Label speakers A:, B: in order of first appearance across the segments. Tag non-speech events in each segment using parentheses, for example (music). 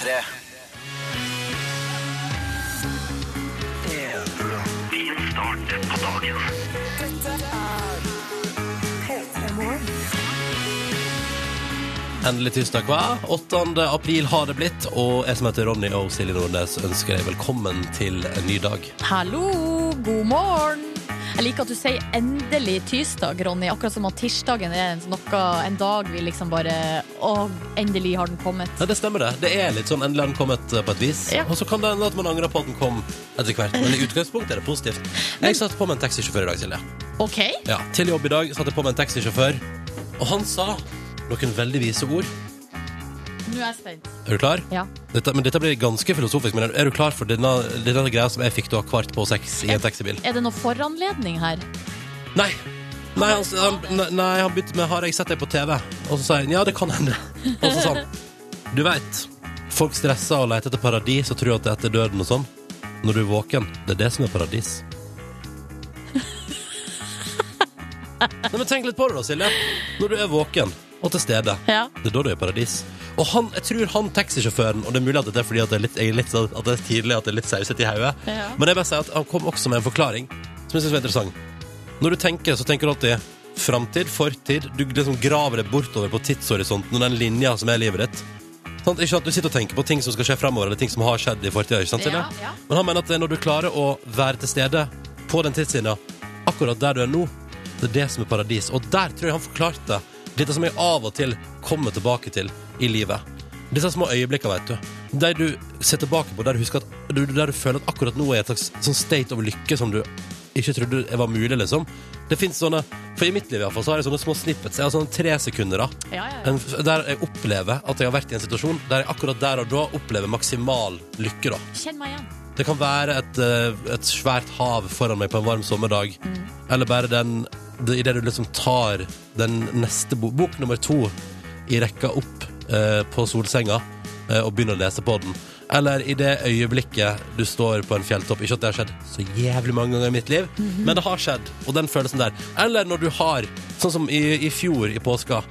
A: P3.
B: Endelig tirsdag, hva? 8. april har det blitt, og jeg som heter Ronny og Silje Nordnes ønsker deg velkommen til en ny dag.
C: Hallo, god morgen. Jeg liker at du sier 'endelig tirsdag', Ronny. Akkurat som at tirsdagen er en, sånn noe, en dag vi liksom bare Å, endelig har den kommet.
B: Ja, det stemmer det. Det er litt sånn endelig har den kommet eh, på et vis.
C: Ja.
B: Og så kan det hende at man angrer på at den kom etter hvert, men i utgangspunktet er det positivt. Jeg satt på med en taxisjåfør i dag, Silje.
C: OK?
B: Ja, til jobb i dag satt jeg på med en taxisjåfør, og han sa noen veldig vise ord.
C: Nå er jeg spent.
B: Er du klar?
C: Ja.
B: Dette, men dette blir ganske filosofisk, men er- er du klar for denne, denne greia som jeg fikk da kvart på seks i en taxibil?
C: Er det noe foranledning her?
B: Nei. Nei, han, han, nei, nei, han begynte med 'Har jeg sett deg på TV?' Og så sa jeg 'Ja, det kan hende'. Og så sa han 'Du veit, folk stresser og leter etter paradis og tror at det er etter døden og sånn. Når du er våken, det er det som er paradis. Nei, men Tenk litt på det, da, Silje. Når du er våken og til stede.
C: Ja.
B: Det er da du er i paradis. Og han, jeg tror han taxisjåføren, og det er mulig at det er fordi at det er litt, jeg er litt, sånn- at det er tidlig, at det er litt sausete i hodet,
C: Ja.
B: men jeg bare sier at han kom også med en forklaring som jeg synes var interessant. Når du tenker, så tenker du alltid framtid, fortid. Du liksom graver deg bortover på tidshorisonten og den linja som er livet ditt. Sant? Ikke at du sitter og tenker på ting som skal skje fremover, eller ting som har skjedd i fortida. ikke sant, Silje?
C: Ja, ja.
B: Men han mener at det er når du klarer å være til stede på den tidslinja, akkurat der du er nå, det er det som er paradis. Og der tror jeg han forklarte dette som jeg av og til kommer tilbake til i livet. Disse små øyeblikkene, vet du. De du ser tilbake på, der du, husker at, du- der du føler at akkurat nå er et slags sånn state of lykke som du ikke trodde det var mulig, liksom. Det finnes sånne, for i mitt liv i hvert fall, så har jeg sånne små snippets. Jeg har sånne tre sekunder, da.
C: Ja, ja, ja.
B: En, der jeg opplever at jeg har vært i en situasjon der jeg akkurat der og da opplever maksimal lykke, da.
C: Kjenn meg igjen.
B: Det kan være et, eh, et svært hav foran meg på en varm sommerdag. Eller bare den det, Idet du liksom tar den neste bo, bok nummer to i rekka opp eh, på solsenga eh, og begynner å lese på den. Eller i det øyeblikket du står på en fjelltopp. Ikke at det har skjedd så jævlig mange ganger i mitt liv, men det har skjedd. Og den følelsen der. Eller når du har, sånn som i, i fjor i påska,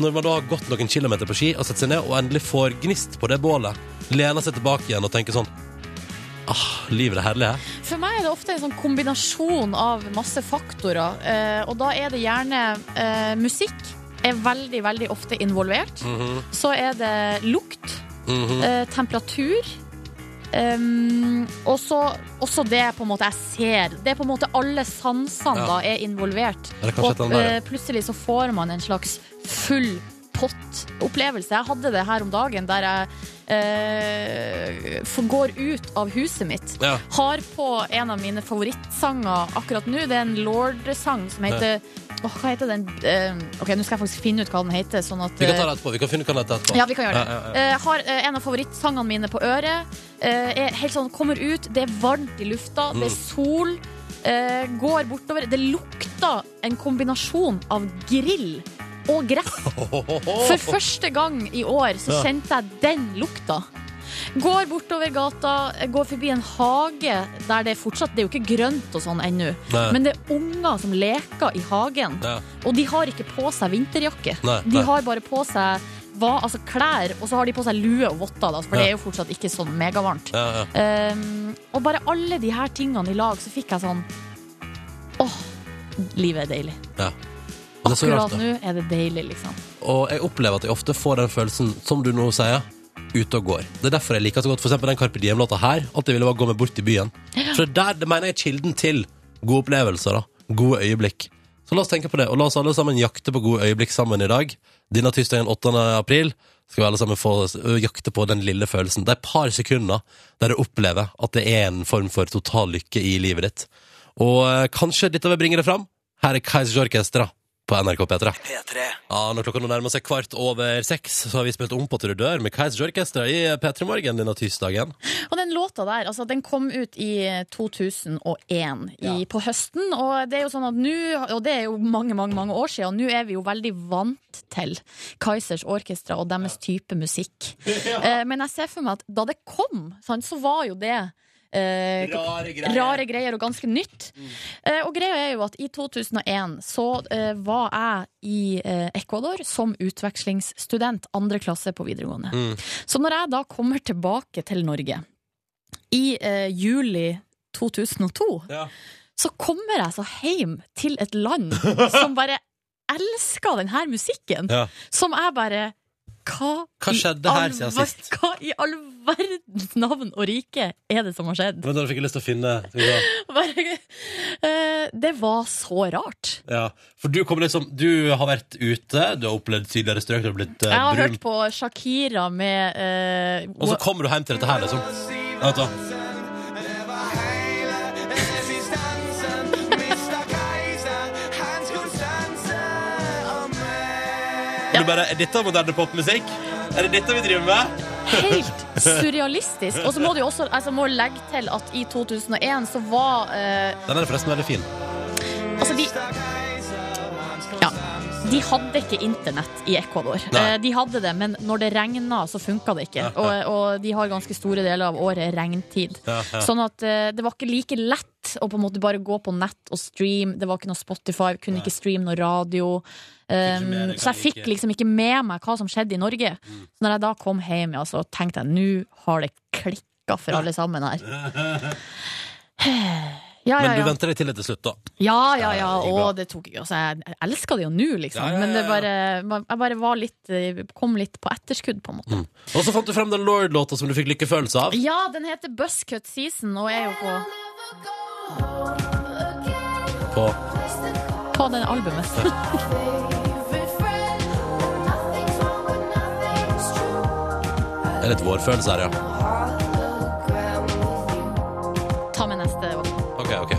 B: når man da har gått noen kilometer på ski og setter seg ned og endelig får gnist på det bålet, lener seg tilbake igjen og tenker sånn Ah, livet er herlig, hæ?
C: For meg er det ofte en sånn kombinasjon av masse faktorer, eh, og da er det gjerne eh, musikk er veldig, veldig ofte involvert.
B: Mhm.
C: Så er det lukt, eh, temperatur, em, og så også det på en måte jeg ser. Det er på en måte alle sansene
B: Ja.
C: da er involvert.
B: Eller kanskje et eller
C: Og
B: annet der, ja.
C: eh, plutselig så får man en slags full pott-opplevelse. Jeg hadde det her om dagen der jeg eh, får- går ut av huset mitt
B: Ja.
C: har på en av mine favorittsanger akkurat nå. Det er en Lord-sang som heter Åh, hva heter den? Eh, ok, nå skal jeg faktisk finne ut hva den heter. Sånn at,
B: Vi kan ta det etterpå. Vi kan finne ut hva det heter etterpå.
C: ja, vi kan gjøre det.
B: Ja, ja,
C: Eh, har eh, en av favorittsangene mine på øret. Eh, er helt sånn, kommer ut, det er varmt i lufta,
B: Mm.
C: det er sol. eh, går bortover. Det lukter en kombinasjon av grill og gress. For første gang i år så
B: Ja.
C: kjente jeg den lukta. Går bortover gata, går forbi en hage der det er fortsatt Det er jo ikke grønt og sånn ennå,
B: Nei.
C: men det er unger som leker i hagen.
B: Ja.
C: Og de har ikke på seg vinterjakke.
B: Nei,
C: de
B: nei.
C: har bare på seg hva, altså klær, og så har de på seg lue og votter, da, for det er jo fortsatt ikke sånn megavarmt.
B: Ja, ja.
C: Um, og bare alle de her tingene i lag, så fikk jeg sånn Åh, livet er deilig.
B: ja. Og det er så
C: Akkurat
B: rart, det.
C: nå er det deilig, liksom.
B: Og jeg opplever at jeg ofte får den følelsen, som du nå sier, ute og går. Det er derfor jeg liker så godt for eksempel den Carpe Diem-låta her. At jeg ville bare gå meg bort i byen. For det der det mener jeg er kilden til gode opplevelser. da Gode øyeblikk. Så la oss tenke på det, og la oss alle sammen jakte på gode øyeblikk sammen i dag. Denne tirsdagen 8. april skal vi alle sammen få ø, jakte på den lille følelsen. Det er et par sekunder der du opplever at det er en form for total lykke i livet ditt. Og ø, kanskje dette vil bringe det fram. Her er Kaizers Orkestra på NRK P3.
A: P3.
B: Ja, Når klokka nå nærmer seg kvart over seks, så har vi spilt om på til du dør med Kaizers Orkestra i eh, P3 Morgen denne tirsdagen.
C: Og den låta der, altså den kom ut i eh, 2001 i,
B: Ja.
C: på høsten, og det er jo sånn at nå, og det er jo mange, mange, mange år siden, og nå er vi jo veldig vant til Kaisers Orkestra og deres type musikk. Eh, Men jeg ser for meg at da det kom, sant, så var jo det eh, eh,
B: Rare
C: Rare greier og ganske nytt.
B: Mm.
C: Eh, og greia er jo at i 2001 så eh, var jeg i eh, Ecuador som utvekslingsstudent andre klasse på videregående.
B: Mm.
C: Så når jeg da kommer tilbake til Norge i eh, juli 2002,
B: Ja.
C: så kommer jeg så hjem til et
B: (laughs)
C: land som bare elsker denne musikken.
B: Ja.
C: Som jeg bare Hva,
B: Hva
C: i
B: skjedde her
C: all
B: siden
C: ver-
B: sist?
C: Hva i all verdens navn og rike er det som har skjedd?
B: Men da fikk jeg lyst til å finne skal vi se.
C: (laughs) Bare, eh, det var så rart.
B: ja. For du kommer liksom Du har vært ute, du har opplevd sydligere strøk, du har blitt eh,
C: Jeg har
B: brun.
C: hørt på Shakira med eh,
B: Og så kommer du hjem til dette her, liksom. Ja, Vent, da.
C: Ja.
B: Du bare, er dette moderne popmusikk? Er det dette vi driver med?
C: Helt surrealistisk. Og så må du jo også altså, må legge til at i 2001 så var eh,
B: Den er forresten veldig fin.
C: Altså, de Ja. De hadde ikke internett i Ecuador.
B: Nei.
C: Eh, de hadde det, men når det regna, så funka det ikke. Og, og de har ganske store deler av året regntid.
B: Ja, ja.
C: Sånn at eh, det var ikke like lett å på en måte bare gå på nett og stream. Det var ikke noe Spotify, kunne ikke streame noe radio. Um,
B: med deg
C: så jeg
B: hva du
C: fikk
B: liker.
C: liksom ikke med meg hva som skjedde i Norge.
B: Mm.
C: Så når jeg da kom hjem, ja, så tenkte jeg nå har det klikka for alle sammen her.
B: (laughs)
C: Ja, ja,
B: Men du
C: ja.
B: venter deg til det til slutt, da.
C: ja, ja, ja.
B: Ja, det gikk
C: Og
B: bra.
C: det tok ikke altså, Jeg elska det jo nå, liksom.
B: Ja, ja, ja,
C: Men det
B: ja.
C: bare, jeg bare var litt eh, kom litt på etterskudd, på en måte.
B: Mm. Og så fant du frem den Lord-låta som du fikk lykkefølelse av.
C: Ja, den heter Buscut Season og er jo på
B: På
C: På den albumet.
B: det er litt vårfølelse her, ja.
C: (laughs) Ta med neste. også.
B: Ok, ok, ok.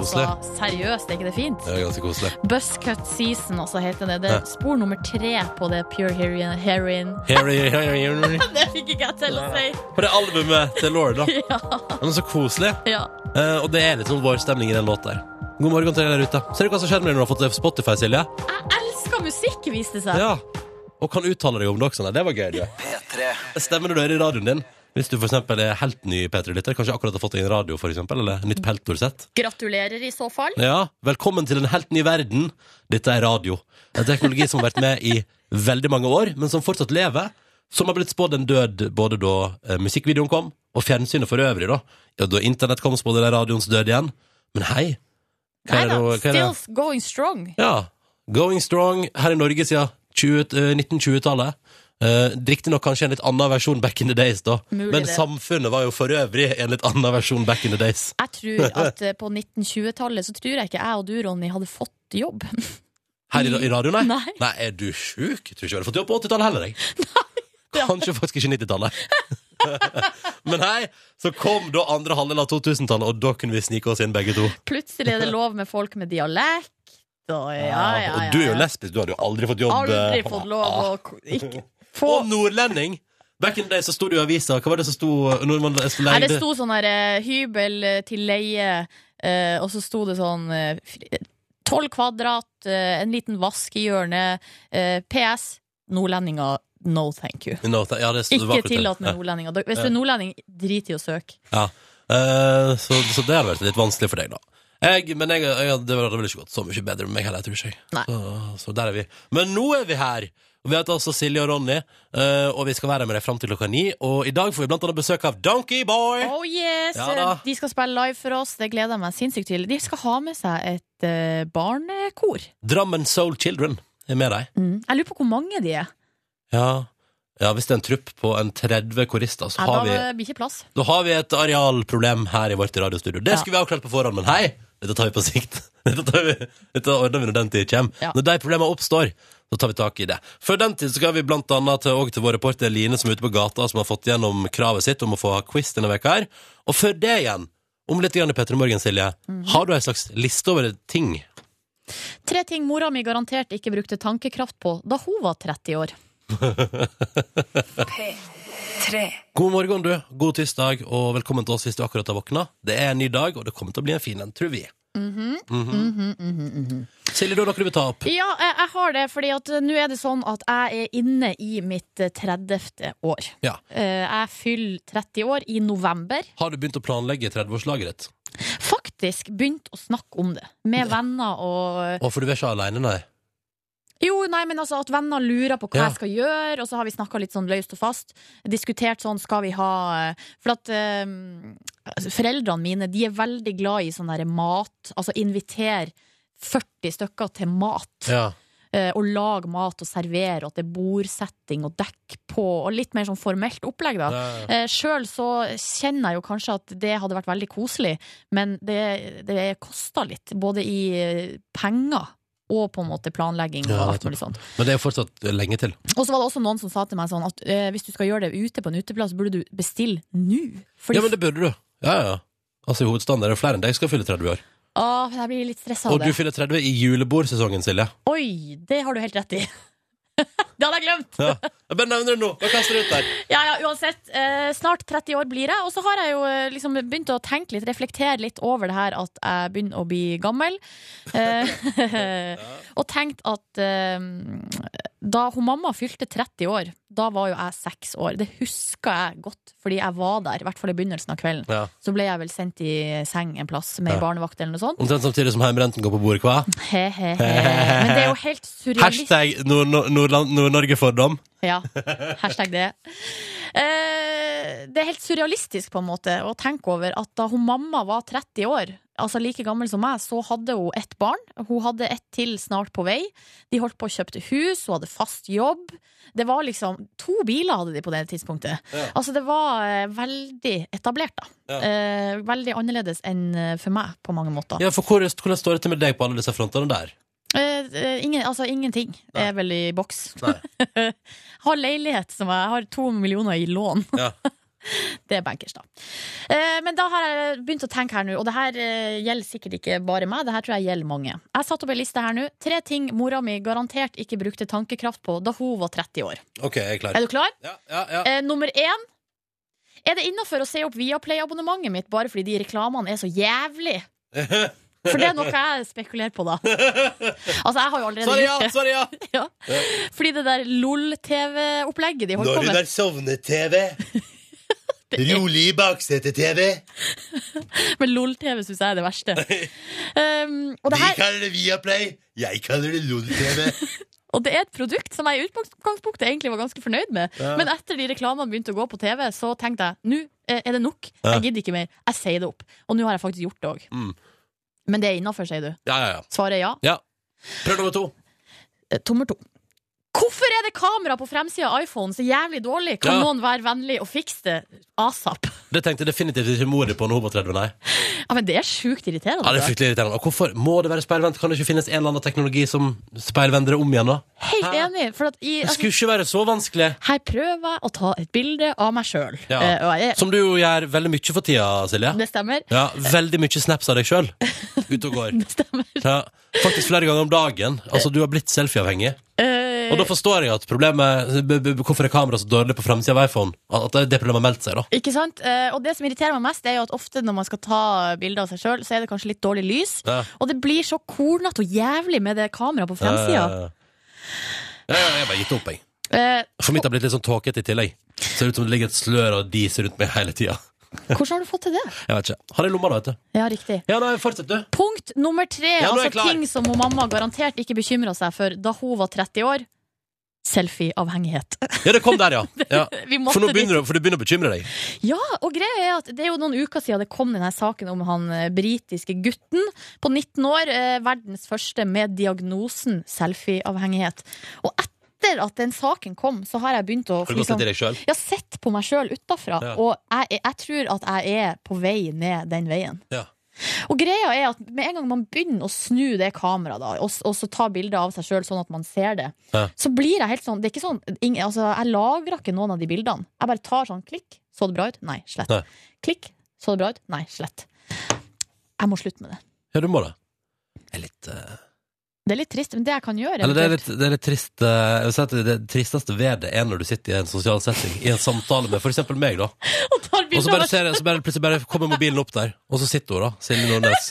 C: Altså,
B: Koselig.
C: seriøst, er ikke det fint?
B: Det er ganske koselig.
C: Buscut Season, altså heter det. Det
B: Ja.
C: er spor nummer tre på det Pure Heroin. heroin. (laughs)
B: Here, here, here, here, here.
C: Det fikk ikke jeg til å si!
B: På det albumet til Lord, da.
C: (laughs) Ja.
B: Men så koselig.
C: ja.
B: Eh, og det er litt sånn vårstemning i den låta der. God morgen til deg der ute. Ser du hva som skjer når du har fått det på Spotify, Silje?
C: Jeg elsker musikk, viste det seg.
B: Ja. Og kan uttale deg om det også. Nei, det var gøy, du. Stemmer når du er i radioen din. Hvis du for eksempel er helt ny P3-lytter, kanskje akkurat har fått deg en radio, for eksempel, eller nytt peltorsett.
C: Gratulerer i så fall.
B: Ja, velkommen til en helt ny verden. Dette er radio. En teknologi som har vært med i veldig mange år, men som fortsatt lever. Som har blitt spådd en død både da eh, musikkvideoen kom, og fjernsynet for øvrig, da. Ja, da internett kom, spådde de radioens død igjen. Men hei.
C: Nei da,
B: nå- hva er
C: still going strong.
B: Ja. Going strong her i Norge siden 20 eh, 1920-tallet. Uh, Riktignok kanskje en litt annen versjon back in the days, da.
C: Mulig
B: men
C: det.
B: samfunnet var jo for øvrig en litt annen versjon back in the days.
C: Jeg tror at eh, på 1920-tallet så tror jeg ikke jeg og du, Ronny, hadde fått jobb. (laughs)
B: Her i, i radioen, nei?
C: Nei.
B: Nei, er du sjuk? Jeg tror ikke jeg hadde fått jobb på 80-tallet heller,
C: (laughs)
B: jeg. Kanskje faktisk ikke 90-tallet. (laughs) Men nei, så kom da andre halvdel av 2000-tallet, og da kunne vi snike oss inn begge to.
C: Plutselig er det lov med folk med dialekt. Og, ja, ja, ja,
B: Og du er jo
C: ja.
B: lesbisk, du hadde jo aldri fått jobb.
C: Aldri
B: eh,
C: fått lov å k- ikke få
B: Og nordlending! Back in the day så sto det jo i avisa. Hva var det som sto når man leide-
C: Nei, det sto sånn her eh, hybel eh, til leie, eh, og så sto det sånn tolv kvadrat, eh, en liten vask i hjørnet, eh, PS, nordlendinger, no thank you.
B: No, ta- ja, det sto- det var
C: Ikke
B: akkurat det.
C: tillatt med nordlendinger. Da- Hvis du er nordlending, drit i å søke.
B: Ja. Eh, så, så det hadde vært litt vanskelig for deg, da. Jeg, men jeg, jeg, det hadde vel ikke gått så mye bedre med meg heller, tror jeg.
C: Nei.
B: Så, så der er vi. Men nå er vi her! Og Vi heter altså Silje og Ronny, eh, og vi skal være med deg fram til klokka ni. Og i dag får vi blant annet besøk av Donkey Boy!
C: Oh yes!
B: Ja da.
C: de skal spille live for oss, det gleder jeg meg sinnssykt til. De skal ha med seg et eh, barnekor.
B: Drammen Soul Children er med deg.
C: Mm. Jeg lurer på hvor mange de er.
B: Ja. ja, hvis det er en trupp på en 30 korister, så
C: Ja,
B: har vi,
C: da blir ikke plass.
B: da har vi et arealproblem her i vårt radiostudio. Det
C: Ja.
B: skulle vi avklart på forhånd, men hei! Dette tar vi på sikt. (laughs) Dette, tar vi, dette ordner vi når den tid kommer.
C: Ja.
B: Når de problemene oppstår, så tar vi tak i det. Før den tid skal vi blant annet til, og til vår reporter Line, som er ute på gata, som har fått gjennom kravet sitt om å få ha quiz denne veka her. Og før det igjen, om litt grann i Petter Morgen, Silje, har du ei slags liste over ting?
C: Tre ting mora mi garantert ikke brukte tankekraft på da hun var 30 år.
B: God morgen, du. God tirsdag, og velkommen til oss hvis du akkurat har våkna. Det er en ny dag, og det kommer til å bli en fin en, tror vi. Mhm. Silje, da kan du ta opp.
C: Ja, jeg, jeg har det, fordi at nå er det sånn at jeg er inne i mitt eh, 30. år.
B: Ja.
C: Eh, Jeg fyller 30 år i november.
B: Har du begynt å planlegge 30-årslaget ditt?
C: Faktisk begynt å snakke om det med venner og
B: Å, for du er ikke aleine, nei?
C: Jo, nei, men altså at venner lurer på hva
B: Ja.
C: jeg skal gjøre, og så har vi snakka litt sånn løst og fast. Diskutert sånn, skal vi ha eh, For at eh, altså, foreldrene mine, de er veldig glad i sånn derre mat. Altså inviter 40 stykker til mat.
B: Ja.
C: eh, og lage mat og servere, og at det er bordsetting og dekk på, og litt mer sånn formelt opplegg, da.
B: Ja.
C: Eh, Sjøl så kjenner jeg jo kanskje at det hadde vært veldig koselig, men det, det kosta litt, både i eh, penger. Og på en måte planlegging og
B: Ja,
C: alt
B: nettopp.
C: mulig sånn. sånt.
B: Men det er jo fortsatt eh, lenge til.
C: Og så var det også noen som sa til meg sånn at eh, hvis du skal gjøre det ute på en uteplass, burde du bestille nå. Fordi
B: Ja, men det burde du. Ja, ja. Altså, I hovedstaden er det flere enn deg som skal fylle 30 år.
C: Åh, jeg blir litt stressa
B: Og
C: av
B: du
C: det.
B: fyller 30 i julebordsesongen, Silje.
C: Oi, det har du helt rett i. (laughs) det hadde jeg glemt!
B: Ja. (laughs) Jeg bare nevner det nå. Bare kaster det ut der.
C: Ja, ja, uansett. Eh, snart 30 år blir jeg. Og så har jeg jo eh, liksom begynt å tenke litt, reflektere litt over det her at jeg begynner å bli gammel. Eh, (laughs) og tenkt at eh, da hun mamma fylte 30 år, da var jo jeg seks år. Det husker jeg godt, fordi jeg var der, i hvert fall i begynnelsen av kvelden.
B: Ja.
C: Så ble jeg vel sendt i seng en plass med
B: Ja.
C: barnevakt eller noe sånt.
B: Omtrent samtidig som hjemmebrenten går på bordet, hva?
C: He-he-he. Men det er jo helt surrealistisk.
B: Hashtag Nord-Norge-fordom.
C: Ja, hashtag det. Eh, det er helt surrealistisk på en måte å tenke over at da hun mamma var 30 år, altså like gammel som meg, så hadde hun ett barn. Hun hadde ett til snart på vei. De holdt på å kjøpe hus, hun hadde fast jobb. Det var liksom To biler hadde de på det tidspunktet.
B: Ja.
C: Altså det var eh, veldig etablert, da.
B: Ja.
C: Eh, veldig annerledes enn eh, for meg på mange måter.
B: Ja, for hvor, hvordan står det til med deg på alle disse frontene der?
C: Eh, eh, ingen, altså ingenting er vel i boks. (laughs)
B: Nei.
C: har leilighet som jeg har to millioner i lån. (laughs)
B: Ja.
C: Det er bankers, da. Eh, Men da har jeg begynt å tenke her nå, og det her eh, gjelder sikkert ikke bare meg, det her tror jeg gjelder mange. Jeg satte opp ei liste her nå. Tre ting mora mi garantert ikke brukte tankekraft på da hun var 30 år.
B: OK, jeg er klar.
C: Er du klar?
B: Ja, ja, ja.
C: Eh, nummer én. Er det innafor å si opp Viaplay-abonnementet mitt bare fordi de reklamene er så jævlig?
B: (laughs)
C: For det er noe jeg spekulerer på, da. Altså, jeg har jo allerede
B: Svaret ja!
C: gjort det.
B: Svaret ja!
C: Ja. Fordi det der LOL-TV-opplegget de holdt på med
B: sovnet-TV.
C: (laughs)
B: Rolig i baksetet-TV.
C: Men LOL-TV syns jeg er det
B: (laughs)
C: verste. Um, og, det her,
B: kaller det Viaplay, jeg kaller det LOL-TV.
C: og det er et produkt som jeg i utgangspunktet egentlig var ganske fornøyd med.
B: Ja.
C: Men etter de reklamene begynte å gå på TV, så tenkte jeg nå eh, er det nok. Jeg gidder ikke mer. Jeg sier det opp. Og nå har jeg faktisk gjort det òg.
B: Mm.
C: Men det er innafor, sier du.
B: (laughs) Ja, ja, ja.
C: Svaret er ja.
B: ja. Prøv nummer to.
C: Eh, Tommer to. Hvorfor er det kamera på fremsida av iPhone så jævlig dårlig?
B: Ja.
C: Kan noen være vennlig og fikse det asap?
B: Det tenkte jeg definitivt ikke mor di på når hun var 30, nei.
C: Ja, men Det er sjukt irriterende.
B: Ja, det er fryktelig irriterende. Og hvorfor må det være speilvendt? Kan det ikke finnes en eller annen teknologi som speilvender det om igjen, da?
C: Helt enig. For at i,
B: Det
C: altså,
B: skulle ikke være så vanskelig.
C: her prøver jeg å ta et bilde av meg sjøl.
B: Ja.
C: Eh, jeg
B: Som du jo gjør veldig mye for tida, Silje.
C: (laughs) Det stemmer.
B: Ja, veldig mye snaps av deg sjøl ute og går.
C: (laughs) Det stemmer.
B: Ja, faktisk flere ganger om dagen. Altså, du har blitt selfieavhengig.
C: Eh,
B: Og da forstår jeg at problemet b -b -b Hvorfor er kameraet så dårlig på framsida av iPhone? At det er det problemet har meldt seg, da.
C: ikke sant? Eh, og det som irriterer meg mest, er jo at ofte når man skal ta bilder av seg sjøl, så er det kanskje litt dårlig lys.
B: Ja.
C: Og det blir så kornete og jævlig med det kameraet på
B: Ja,
C: fremsida.
B: ja, Eh, ja. Ja, jeg har bare gitt opp, jeg.
C: Eh,
B: For mitt har blitt litt sånn tåkete i tillegg. Ser ut som det ligger et slør og dis rundt meg hele tida.
C: hvordan har du fått til det?
B: (laughs) Jeg vet ikke. Har det i lomma, da, vet du.
C: Ja, riktig.
B: Ja, nei, fortsett, du.
C: Punkt nummer tre,
B: Ja, nå er jeg
C: altså
B: klar.
C: ting som hun mamma garantert ikke bekymra seg for da hun var 30 år. Selfieavhengighet.
B: Ja, det kom der, (laughs) ja. ja.
C: Vi måtte
B: For, nå
C: dit.
B: begynner du, for du begynner å bekymre deg.
C: Ja, og greia er at det er jo noen uker siden det kom denne saken om han eh, britiske gutten på 19 år, eh, verdens første med diagnosen selfieavhengighet. Og etter at den saken kom, så har jeg begynt å
B: Har du gått ned til deg selv?
C: jeg har sett på meg sjøl utafra,
B: Ja.
C: og jeg, er- jeg tror at jeg er på vei ned den veien.
B: Ja.
C: Og greia er at med en gang man begynner å snu det kameraet da, og, s- og så ta bilder av seg sjøl sånn at man ser det,
B: Ja.
C: så blir jeg helt sånn, det er ikke sånn ingen, altså, Jeg lagrer ikke noen av de bildene. Jeg bare tar sånn klikk, så det bra ut? Nei, slett.
B: Nei.
C: Klikk, så det bra ut? Nei, slett. Jeg må slutte med det.
B: Ja, du må det. Jeg er litt eh,
C: Det er litt trist, men det jeg kan gjøre
B: Eller det er
C: eventuelt.
B: litt, det er litt trist eh, jeg vil si at det, det tristeste ved det er når du sitter i en sosial setting, i en samtale med for eksempel meg, da.
C: (laughs) Og tar
B: Og så
C: bilder
B: bare,
C: av
B: ser jeg, så bare plutselig bare kommer mobilen opp der, og så sitter hun, da, Silje Nordnes.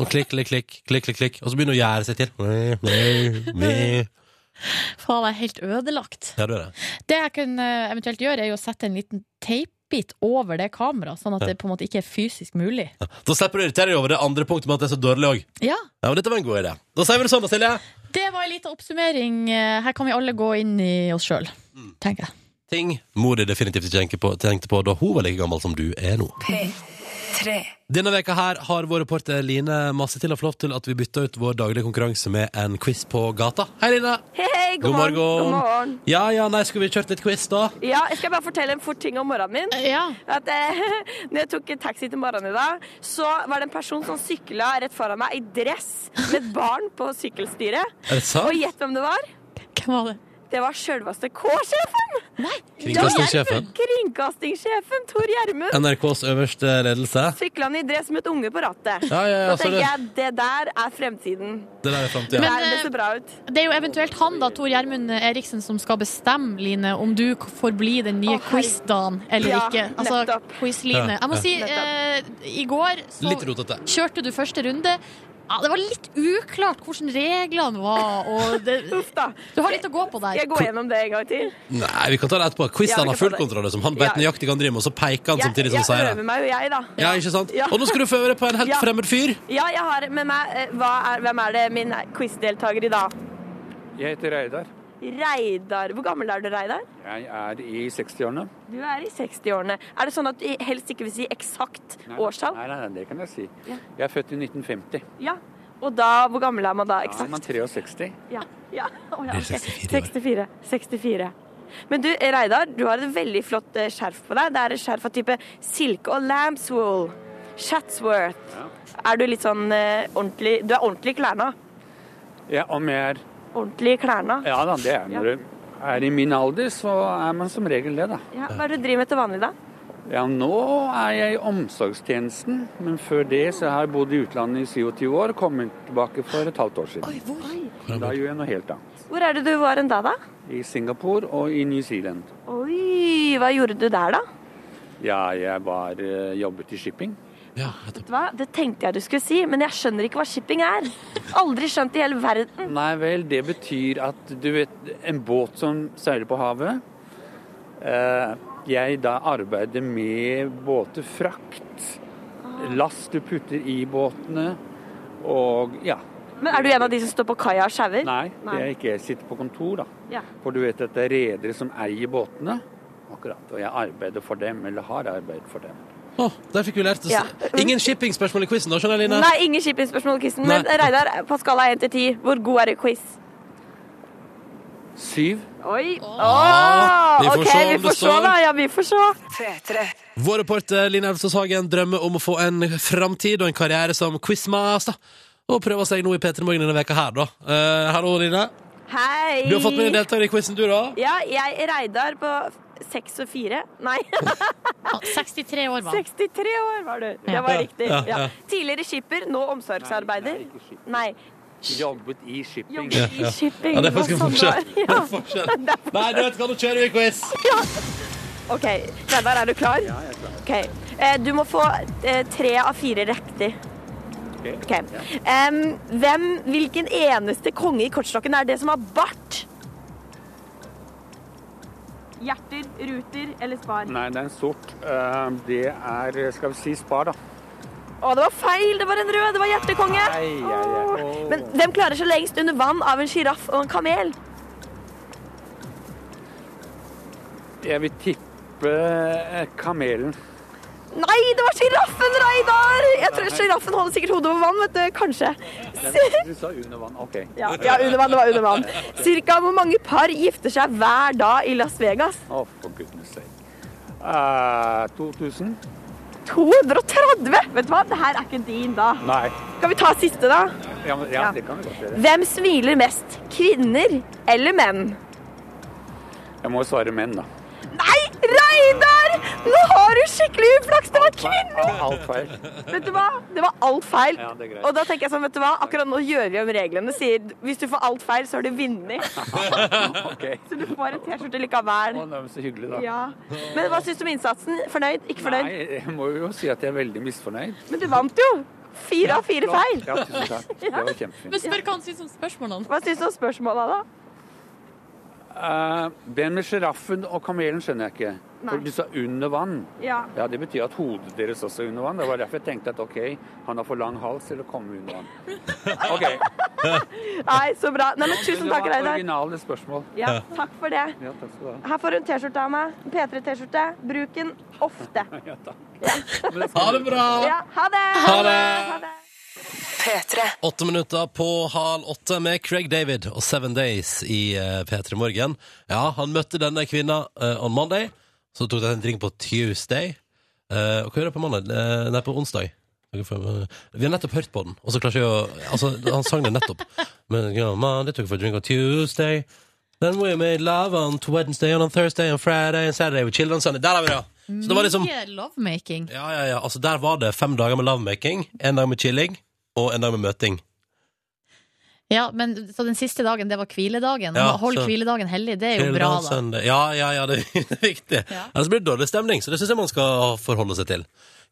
B: Og klikk, klikk, klikk, klikk, klikk, klikk. Og så begynner hun å gjære seg til.
C: Faen, jeg er helt ødelagt.
B: Ja, du er det.
C: Det jeg kan eh, eventuelt gjøre, er jo å sette en liten teipbit over det kameraet, sånn at det på en måte ikke er fysisk mulig.
B: Da slipper du å irritere deg over det andre punktet med at det er så dårlig òg.
C: Ja,
B: Ja, men dette var en god idé. Da sier vi det sånn, da, Silje.
C: det var en liten oppsummering. Eh, Her kan vi alle gå inn i oss sjøl,
B: Mm.
C: tenker jeg.
B: Ting mor di definitivt ikke tenkte på, tenkte på da hun var like gammel som du er nå.
A: Tre.
B: Denne veka her har vår reporter Line Massetil fått lov til at vi bytta ut vår daglige konkurranse med en quiz på gata. Hei, Line!
A: Hei, hei, god,
B: God morgen.
A: God morgen.
B: Ja, ja, nei, skulle vi kjørt litt quiz, da?
A: Ja, jeg skal bare fortelle en fort ting om morgenen min.
C: Ja.
A: At, eh, (laughs) når jeg tok taxi til morgenen i dag, så var det en person som sykla rett foran meg i dress med et barn på sykkelstyret.
B: Er det
A: Og
B: sant?
A: gjett hvem det var?
C: Hvem var det?
A: Det var sjølveste K-sjefen!
B: Kringkastingssjefen.
A: Kringkastingssjefen Tor Gjermund.
B: NRKs øverste ledelse.
A: Sykla han i dress med et unge på rattet.
B: Ja, ja, ja,
A: Da
B: så
A: tenker
B: det,
A: jeg det der er fremtiden.
B: det der er framtida.
C: Men-
A: Der det
C: eh,
A: ser bra ut.
C: Det er jo eventuelt han, da, Tor Gjermund Eriksen, som skal bestemme, Line, om du k- får bli den nye
A: Å, herregud.
C: quiz-Dan eller
A: Ja,
C: ikke. Altså,
A: nettopp.
C: quiz-Line.
B: Ja,
C: Jeg må
B: ja.
C: si, eh, i går så
B: Litt rotete.
C: kjørte du første runde. Ja, det var litt uklart hvordan reglene var, og (laughs) det,
A: Uff da.
C: du har litt å gå på
A: Skal
C: der.
A: jeg gå gjennom det en gang til?
B: Nei, vi kan ta det etterpå. Quiz
A: Ja, vi
B: han har
A: kan
B: full
A: ta det.
B: kontroll, liksom. Han vet
A: Ja.
B: nøyaktig hva han driver med, og så peker han
A: Jeg,
B: samtidig som
A: jeg
B: han sier det.
A: øver meg jo, jeg, da.
B: Ja, ikke sant?
A: Ja.
B: Og nå skal du få øve deg på en helt
A: Ja.
B: fremmed fyr.
A: Ja, jeg har med meg eh, hva er, Hvem er det min quizdeltaker i dag?
D: Jeg heter Reidar.
A: Reidar. Hvor gammel er du, Reidar?
D: Jeg er i 60-årene.
A: Du er i 60-årene. Er det sånn at du helst ikke vil si eksakt årstall?
D: Nei, nei, nei, det kan jeg si. Jeg er født i 1950.
A: Ja. Og da, hvor gammel er man da
D: Da er man
A: eksakt?
D: 63.
A: Ja. ja. Å, ja,
B: Blir
A: ok.
B: 64
A: 64. 64. Men du, Reidar, du har et veldig flott eh, skjerf på deg. Det er et skjerf av type silke og lambswool. Chatsworth.
D: Ja.
A: Er du litt sånn eh, ordentlig Du er ordentlig i klærne.
D: Ja, om jeg er
A: Ordentlig i klærne.
D: Ja da, det er når du er i min alder, så er man som regel det, da.
A: Ja. Hva er det du driver med til vanlig, da?
D: Ja, nå er jeg i omsorgstjenesten, men før det så har jeg bodd i utlandet i 27 år og kommet tilbake for et halvt år siden. Da gjør jeg noe helt annet.
A: Hvor er det du var en dag, da?
D: I Singapore og i New Zealand.
A: Oi, hva gjorde du der, da?
D: Ja, jeg var eh, jobbet i shipping.
B: Ja, nettopp.
A: Hva? Det tenkte jeg du skulle si, men jeg skjønner ikke hva shipping er. Aldri skjønt i hele verden.
D: Nei vel, det betyr at du vet, en båt som seiler på havet eh, Jeg da arbeider med båtefrakt. Last du putter i båtene og ja.
A: Men er du en av de som står på kaia og sjauer?
D: Nei, det er ikke jeg sitter på kontor, da.
A: Ja.
D: For du vet at det er redere som eier båtene. Akkurat. Og jeg arbeider for dem, eller har arbeidet for dem.
B: Å, der fikk vi lært oss.
A: Ja.
B: Ingen shippingspørsmål i quizen, da, skjønner jeg, Line.
A: Nei, ingen shippingspørsmål, Kristen. Men
B: Nei.
A: Reidar, på skala 1 til 10, hvor god er du i quiz?
D: Syv.
A: Oi.
B: Ah, vi får
A: OK,
B: se om
A: vi
B: det
A: får se,
B: står.
A: da. Ja, vi får se.
B: Vår reporter Line Elvsås Hagen drømmer om å få en framtid og en karriere som quizmaster. Og prøver seg nå i P3 Morgen denne veka her, da. Eh, hallo, Line.
A: Hei.
B: Du har fått med deg deltaker i quizen, du, da.
A: Ja, jeg er Reidar på 6 og 4. Nei. (laughs)
C: Ja, 63 år, mann.
A: 63 år var du. Det var riktig.
B: Ja, ja.
A: Ja. Tidligere skipper, nå omsorgsarbeider.
D: Nei, nei, ikke skipper.
A: Nei.
D: Jobbet i shipping.
A: Jobber i shipping.
B: Ja, det er faktisk en
A: Hva
B: forskjell.
A: sånn
B: Det
A: var-
B: er forskjell. Nei, du vet hva, nå kjører vi quiz!
A: Ja. OK. Reidar, er du klar? Ja, jeg er klar. Du må få eh, tre av fire riktig. OK. Em, hvem, hvilken eneste konge i kortstokken er det som har bart? Hjerter, ruter eller spar?
D: Nei, det er en sort. Eh, Det er, skal vi si, spar, da.
A: Å, det var feil! Det var en rød! Det var hjertekonge!
D: Ai, ai, ai.
A: Åh. Men hvem klarer seg lengst under vann av en sjiraff og en kamel?
D: Jeg vil tippe eh,
A: (laughs)
D: kamelen.
A: Nei, det var sjiraffen, Reidar! Jeg tror Sjiraffen holder sikkert hodet over vann, vet du. Kanskje.
D: Du sa under vann. OK.
A: Ja, ja, under vann. Det var under vann. Cirka hvor mange par gifter seg hver dag i Las Vegas?
D: Å, for goodness sake. Eh, 2000?
A: 230! Vet du hva, det her er ikke din, da.
D: Nei.
A: Skal vi ta siste, da?
D: Ja, men, ja, det kan vi godt gjøre.
A: Hvem smiler mest? Kvinner eller menn?
D: Jeg må svare menn, da.
A: Nei, Reidar! Nå har har du skikkelig uflaks! Det var kvinne!
D: Alt feil.
A: Vet du hva? Det var alt feil.
D: Ja, det er greit.
A: og da tenker jeg sånn, vet du hva? Akkurat nå gjør vi om reglene. Sier hvis du får alt feil, så har du vunnet.
D: Ok.
A: Så du får en T-skjorte likevel.
D: Å, det var så hyggelig, da.
A: Ja. Men hva syns du om innsatsen? Fornøyd? Ikke
D: Nei,
A: fornøyd?
D: jeg må jo si at jeg er veldig misfornøyd.
A: Men du vant jo! Fire av fire feil.
D: Ja, tusen
A: (laughs)
D: takk. Det var kjempefint.
C: Men spør hva han syns om spørsmålene.
A: Hva syns du om spørsmåla, da?
D: Eh, den med sjiraffen og kamelen skjønner jeg ikke. For du sa under vann.
A: Ja.
D: Ja, Det betyr at hodet deres også er under vann. Det var derfor jeg tenkte at OK, han har for lang hals til å komme under vann. OK.
A: Nei, så bra. Nei, men tusen takk,
D: Det var
A: Reidar.
D: originale spørsmål.
A: Ja, takk for det.
D: Ja, takk skal du ha.
A: Her får du en T-skjorte av meg. En P3-T-skjorte. Bruk den ofte.
D: Ja, takk.
B: Ha det bra!
A: Ja, ha det!
B: Ha det!
A: Ha det.
B: Åtte minutter på halv åtte med Craig David og Seven Days i eh, P3 Morgen. Ja, han møtte denne kvinna eh, on Monday. Så tok de en drink på Tuesday. Eh, og hva gjør det på mandag? Eh, nei, på onsdag. Dere får- eh, Vi har nettopp hørt på den, og så klarer ikke jeg å Altså, han sang det nettopp. Men ja, man, det tok for a drink on Tuesday. Then we made love on Wednesday and on Thursday and Friday and Saturday with children. Sunday. Der har vi det! ja. Så det var liksom
C: Mye lovemaking.
B: ja, ja, ja. Altså, der var det fem dager med lovemaking, en dag med chilling og en dag med møting.
C: Ja, men Så den siste dagen, det var hviledagen.
B: Ja,
C: Hold
B: så-
C: hviledagen hellig, det er jo
B: Til
C: bra,
B: da,
C: da.
B: søndag. Ja, ja, ja, det er (laughs) viktig.
C: Ja.
B: Ellers blir det dårlig stemning, så det syns jeg man skal forholde seg til.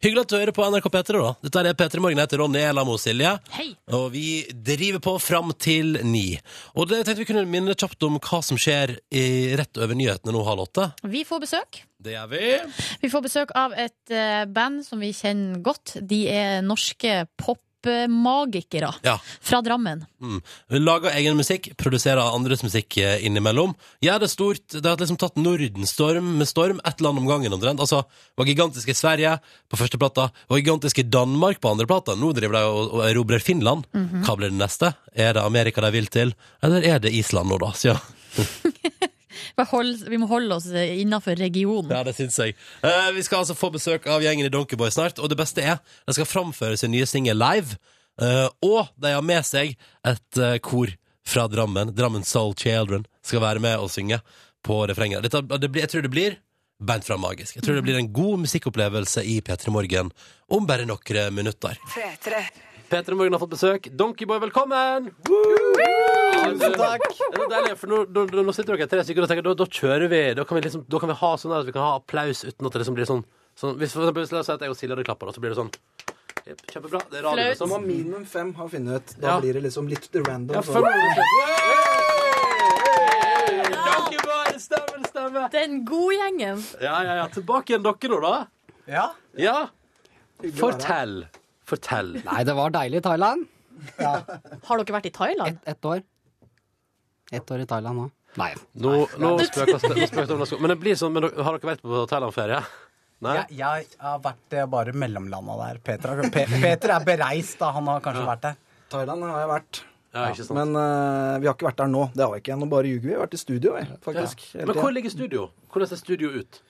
B: Hyggelig at du hører på NRK P3, da. Dette er P3 Morgen. Jeg heter Ronny Elam og Silje.
C: Hei!
B: Og vi driver på fram til ni. Og det tenkte vi kunne minne kjapt om hva som skjer i, rett over nyhetene nå halv åtte.
C: Vi får besøk.
B: Det gjør vi.
C: Vi får besøk av et eh, band som vi kjenner godt. De er norske popmagikere
B: Ja.
C: fra Drammen.
B: Mm. Lager egen musikk, produserer andres musikk eh, innimellom. Gjør det stort. Det har liksom tatt Nordenstorm med storm, ett land om gangen omtrent. Altså, var gigantiske i Sverige på første plata, var gigantiske i Danmark på andre plata. Nå driver de og, og erobrer Finland. Hva blir det neste? Er det Amerika de vil til, eller er det Island nå, da? Så, ja.
C: Vi hold- vi må holde oss innafor regionen.
B: Ja, det syns jeg. Eh, vi skal altså få besøk av gjengen i Donkeyboy snart, og det beste er de skal framføre sin nye singel live, eh, og de har med seg et eh, kor fra Drammen. Drammen Soul Children skal være med og synge på refrenget. Dette, det blir, jeg tror det blir beint fram magisk. Jeg tror det blir en god musikkopplevelse i P3 Morgen om bare noen minutter. P3 Morgen har fått besøk. Donkeyboy, velkommen! Tusen takk. Altså, Det er deilig, for nå, nå, nå sitter dere tre stykker og tenker da, da kjører vi. Da kan vi, liksom, da kan vi ha sånn der at vi kan ha applaus uten at det liksom blir sånn, sånn Hvis for eksempel, la oss si at jeg og Silje hadde klappa, så blir det sånn Jep, Kjempebra. Det er radio,
C: Flaut.
E: Man
B: liksom.
E: må minimum fem ha funnet ut. Da
B: Ja.
E: blir det liksom litt random.
B: Ja,
E: så-
B: fem minutter. Donkeyboy, det stemmer, det stemmer.
C: Den gode gjengen.
B: Ja, ja, ja. Tilbake igjen dere nå, da.
E: Ja.
B: Ja.
E: Hyggelig å være her.
B: Fortell. Fortell.
F: Nei, det var deilig i Thailand.
C: Har dere vært i Thailand?
F: Ett år. Ett år i Thailand nå. Nei.
B: Nå, nå spøkes det. nå spøkes det om det. Men det blir sånn, men dere- har dere vært på Thailand-ferie? Nei?
G: Jeg, jeg har vært eh, bare mellomlanda der. Peter, har- Pe Peter er bereist, da. Han har kanskje vært der.
E: Thailand har jeg vært.
B: Ja, ikke sant.
E: Men eh, vi har ikke vært der nå. Det har vi ikke. Nå bare ljuger vi. Vi har vært i studio, vi, faktisk. hele
B: Men
E: tiden.
B: hvor ligger studio? Hvordan ser studio ut?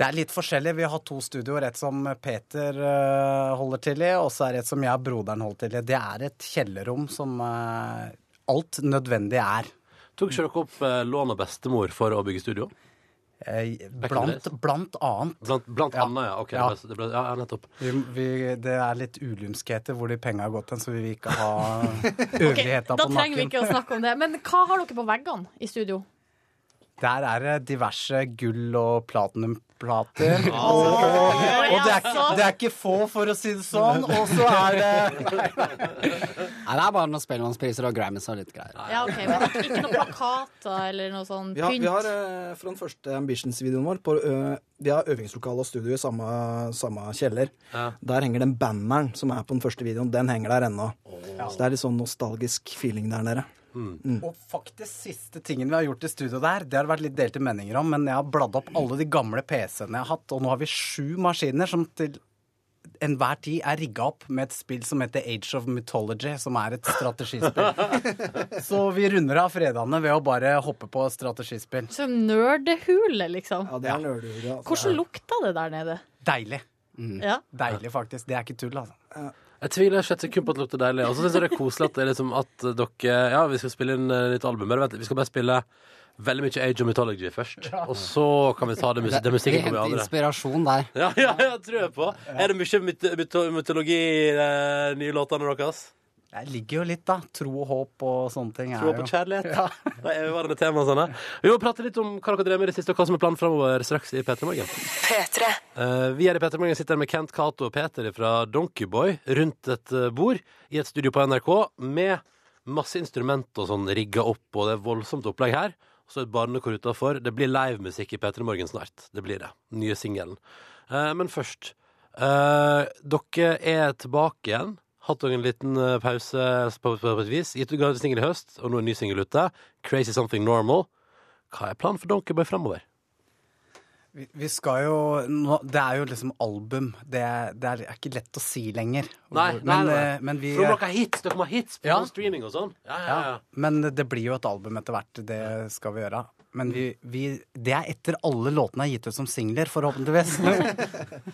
G: Det er litt forskjellig. Vi har to studioer. Et som Peter eh, holder til i, og så er det et som jeg og broderen holder til i. Det er et kjellerrom som eh, alt nødvendig er.
B: Tok ikke dere opp eh, lån av bestemor for å bygge studio?
G: Eh, Blant, blant annet.
B: Blant, blant
G: Ja.
B: annet, ja. Ok,
G: Ja.
B: Det ble, det ble, ja, ja, nettopp.
G: Vi, vi, det er litt ulymskheter hvor de penga har gått hen, så vi vil ikke ha øvrigheta
C: da
G: på
C: trenger vi
G: nakken.
C: ikke å snakke om det. Men hva har dere på veggene i studio?
G: Der er det diverse gull- og platinumplater. Og, og, og det, er ikke, det er ikke få, for å si det sånn. Og så er det
F: Nei, det er bare noen Spellemannspriser og Grammys og litt greier.
C: Ja, ok, men Ikke noen plakater eller noe sånn
E: Vi har, vi har
C: pynt?
E: eh, fra den første Ambitions-videoen vår på, ø, Vi har øvingslokale og studio i samme, samme kjeller. Der henger den banneren som er på den første videoen. Den henger der ennå. Så det er litt sånn nostalgisk feeling der nede. Mm.
G: Og faktisk siste tingen vi har gjort i studio der, det har det vært litt delte meninger om, men jeg har bladd opp alle de gamle PC-ene jeg har hatt, og nå har vi sju maskiner som til enhver tid er rigga opp med et spill som heter Age of Mythology, som er et strategispill. Så vi runder av fredagene ved å bare hoppe på strategispill.
C: Som nerdehule, Sånn liksom.
E: Ja, det er lørdager, altså.
C: Hvordan lukta det der nede?
G: Deilig.
C: Ja.
G: Deilig, faktisk. Det er ikke tull, altså.
B: Jeg tviler ikke et sekund på at det lukter deilig. Og så syns jeg det er koselig at, det er liksom at dere Ja, vi skal spille inn eh, nytt album. Men vent, vi skal bare spille veldig mye Age of Mythology først. Og så kan vi ta det, mus det musikken kommer i andre.
F: inspirasjon der.
B: (laughs) Ja, ja, ja, tror jeg på. Er det mye myt myto- mytologi i de nye låtene deres?
H: Jeg ligger jo litt, da. Tro og håp og sånne ting. er
B: Tro på
H: jo-
B: kjærlighet? (laughs) De evigvarende temaene sånne. Vi må prate litt om hva dere drev med i det siste, og hva som er planen framover straks i P3 Morgen. Eh, vi her i P3 Morgen sitter med Kent, Cato og Peter fra Donkeyboy rundt et eh, bord i et studio på NRK med masse instrumenter og sånn rigga opp, og det er voldsomt opplegg her. Så et barnekor utafor. Det blir livemusikk i P3 Morgen snart. Det blir det. Nye singelen. Eh, men først eh, Dere er tilbake igjen. Hatt dere en liten eh, pause på, på, på et vis. Gitt ut singel i høst, og nå er en ny singel ute. Crazy Something Normal. Hva er planen for Donkeyboy framover?
H: Vi, vi skal jo nå, Det er jo liksom album. Det, er- det er ikke lett å si lenger.
B: Nei,
H: Hvor-
B: nei,
H: men,
B: nei.
H: eh, Men, vi,
B: For dere har hits, dere må ha hits på
H: Ja.
B: streaming og sånn. Ja, ja, ja.
H: ja, eh, men det blir jo et album etter hvert. Det skal vi gjøre. Men vi, vi, det er etter alle låtene er gitt ut som singler,
B: (laughs)
H: forhåpentligvis.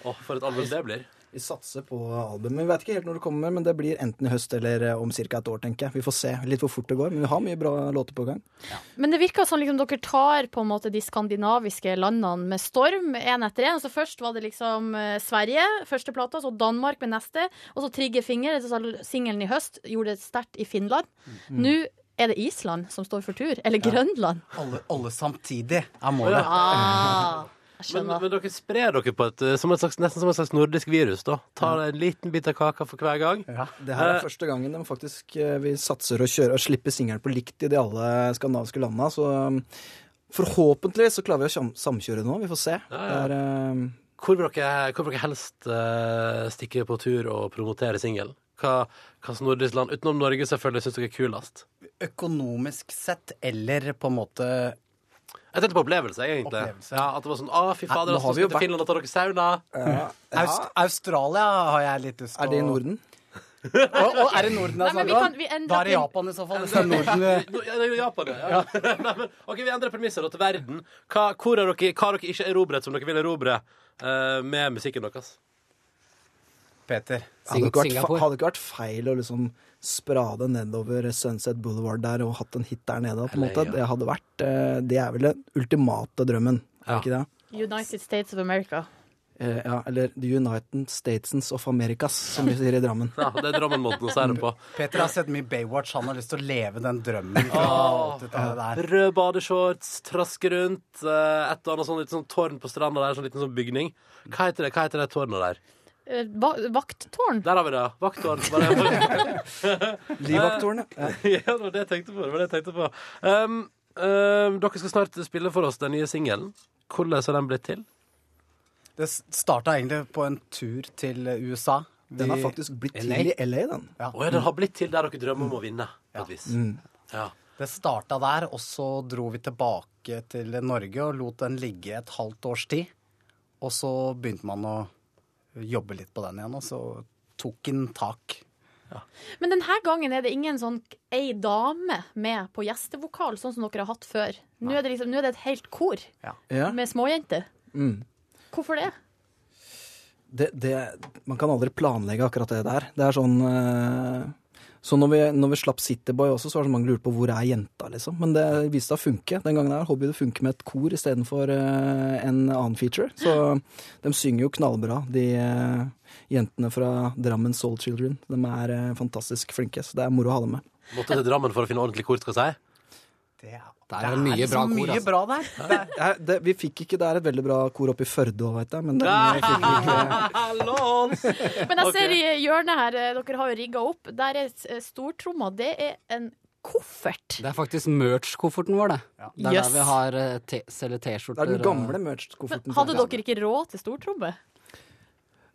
B: Åh, for et album det blir.
G: Vi satser på albumet. Vi vet ikke helt når det kommer, men det blir enten i høst eller eh, om ca. et år, tenker jeg. Vi får se litt hvor fort det går, men vi har mye bra låter på gang.
C: Men det virker som liksom, dere tar på en måte de skandinaviske landene med storm, én etter én. Så først var det liksom eh, Sverige, første plata, så Danmark med neste. Og så Trigger Finger, så sa- singelen i høst, gjorde det sterkt i Finland. Nå er det Island som står for tur. Eller Grønland.
H: alle, alle samtidig er målet.
C: Ah, jeg
B: Men,
C: skjønner.
B: men dere sprer dere på et, eh, som et slags, nesten som et slags nordisk virus. da. Tar en liten bit av kaka for hver gang.
G: Det
B: Eh.
G: her er første gangen de faktisk eh, vi satser å kjøre og slippe singelen på likt i de alle skandinaviske landa, så um, forhåpentligvis så klarer vi å sam- samkjøre nå. Vi får se.
B: ja.
G: Det er, eh,
B: Hvor vil dere, hvor vil dere helst eh, stikke på tur og promotere singelen? Hva hvilket nordisk land, utenom Norge, selvfølgelig syns dere er kulest?
H: Økonomisk sett eller på en måte
B: Jeg tenkte på opplevelse, jeg, egentlig.
H: Opplevelse.
B: Ja, at det var sånn Å, fy fader,
G: nå
B: altså,
G: har vi
B: skal
G: jo
B: til
G: vært-
B: Finland og ta dere sauna.
H: Aust Australia har jeg litt lyst til
G: er det i Norden?
H: Å, å, er det Norden jeg
C: Nei, men vi
H: snakker
C: kan-
H: om?
C: vi endrer
H: Da er det
C: til-
H: Japan i så fall. Hvis det er
C: (laughs)
H: Norden vi
B: Nå- Ja, det er jo Japan, ja. ja. (laughs) Nei, men, ok, vi endrer premisset da til verden. Hva, hvor har dere, hva har dere ikke erobret som dere vil erobre eh, med musikken deres?
H: Peter.
G: Hadde det ikke vært, fe-
F: Singapore.
G: hadde det ikke vært feil å liksom sprade nedover Sunset Boulevard der og hatt en hit der nede, på en
B: Eller,
G: måte.
B: ja.
G: Det hadde vært eh, Det er vel den ultimate drømmen,
B: Ja.
G: er ikke det?
C: United States of America.
G: Eh, ja, eller The United States of Americas, som vi sier i Drammen.
B: Ja, det er Drammen-måten å si det på.
H: (laughs) Peter har sett mye Baywatch. Han har lyst til å leve den drømmen. fra 80-tallet der.
B: Rød badeshorts, traske rundt, eh, et og annet sånn, litt sånn tårn på stranda der, sånn liten sånn bygning. Hva heter det, hva heter det tårnet der?
C: Eh, va- Vakttårn.
B: Der har vi det. Vakttårn. var (laughs) det-
G: Livaktorene. Ja.
B: (laughs) ja, det var det jeg tenkte på. Det var det jeg tenkte på. Um, um, dere skal snart spille for oss den nye singelen. Hvordan har den blitt til?
H: Det starta egentlig på en tur til USA. Vi-
G: Den har faktisk blitt til
F: LA.
G: i LA, den.
B: Å ja, Mm. den har blitt til der dere drømmer om å vinne, på et vis. Ja.
H: Det starta der, og så dro vi tilbake til Norge og lot den ligge et halvt års tid. Og så begynte man å jobbe litt på den igjen, og så tok den tak.
C: Men denne gangen er det ingen sånn k- ei dame med på gjestevokal, sånn som dere har hatt før. Nå er det, liksom, nå er det et helt kor
G: Ja.
C: med småjenter. Hvorfor det?
G: det, det, man kan aldri planlegge akkurat det der. Det er sånn eh, Så når vi, når vi slapp Cityboy også, så var det så mange lurte på hvor er jenta, liksom. Men det viste seg å funke. Den gangen her håper vi det funker med et kor istedenfor uh, en annen feature. Så de synger jo knallbra, de eh, jentene fra Drammen Soul Children. De er eh, fantastisk flinke, så det er moro å ha dem med.
B: Måtte til Drammen for å finne ordentlig kort, skal jeg si.
H: Det er,
F: Det er mye bra kor,
H: mye
F: altså.
H: bra der. Det er,
G: Eh, det, vi fikk ikke Det er et veldig bra kor oppe i Førde òg, veit jeg, men den fikk vi ikke.
B: Låns!
C: Men jeg ser i hjørnet her, eh, dere har jo rigga opp, der er s- eh, stortromma. Det er en koffert.
F: Det er faktisk merch-kofferten vår, det. Det er
C: Jøss.
F: der vi har eh, te- selger T-skjorter.
G: Det er den gamle
F: og-
G: merch-kofferten.
C: Hadde dere ikke råd til stortromme?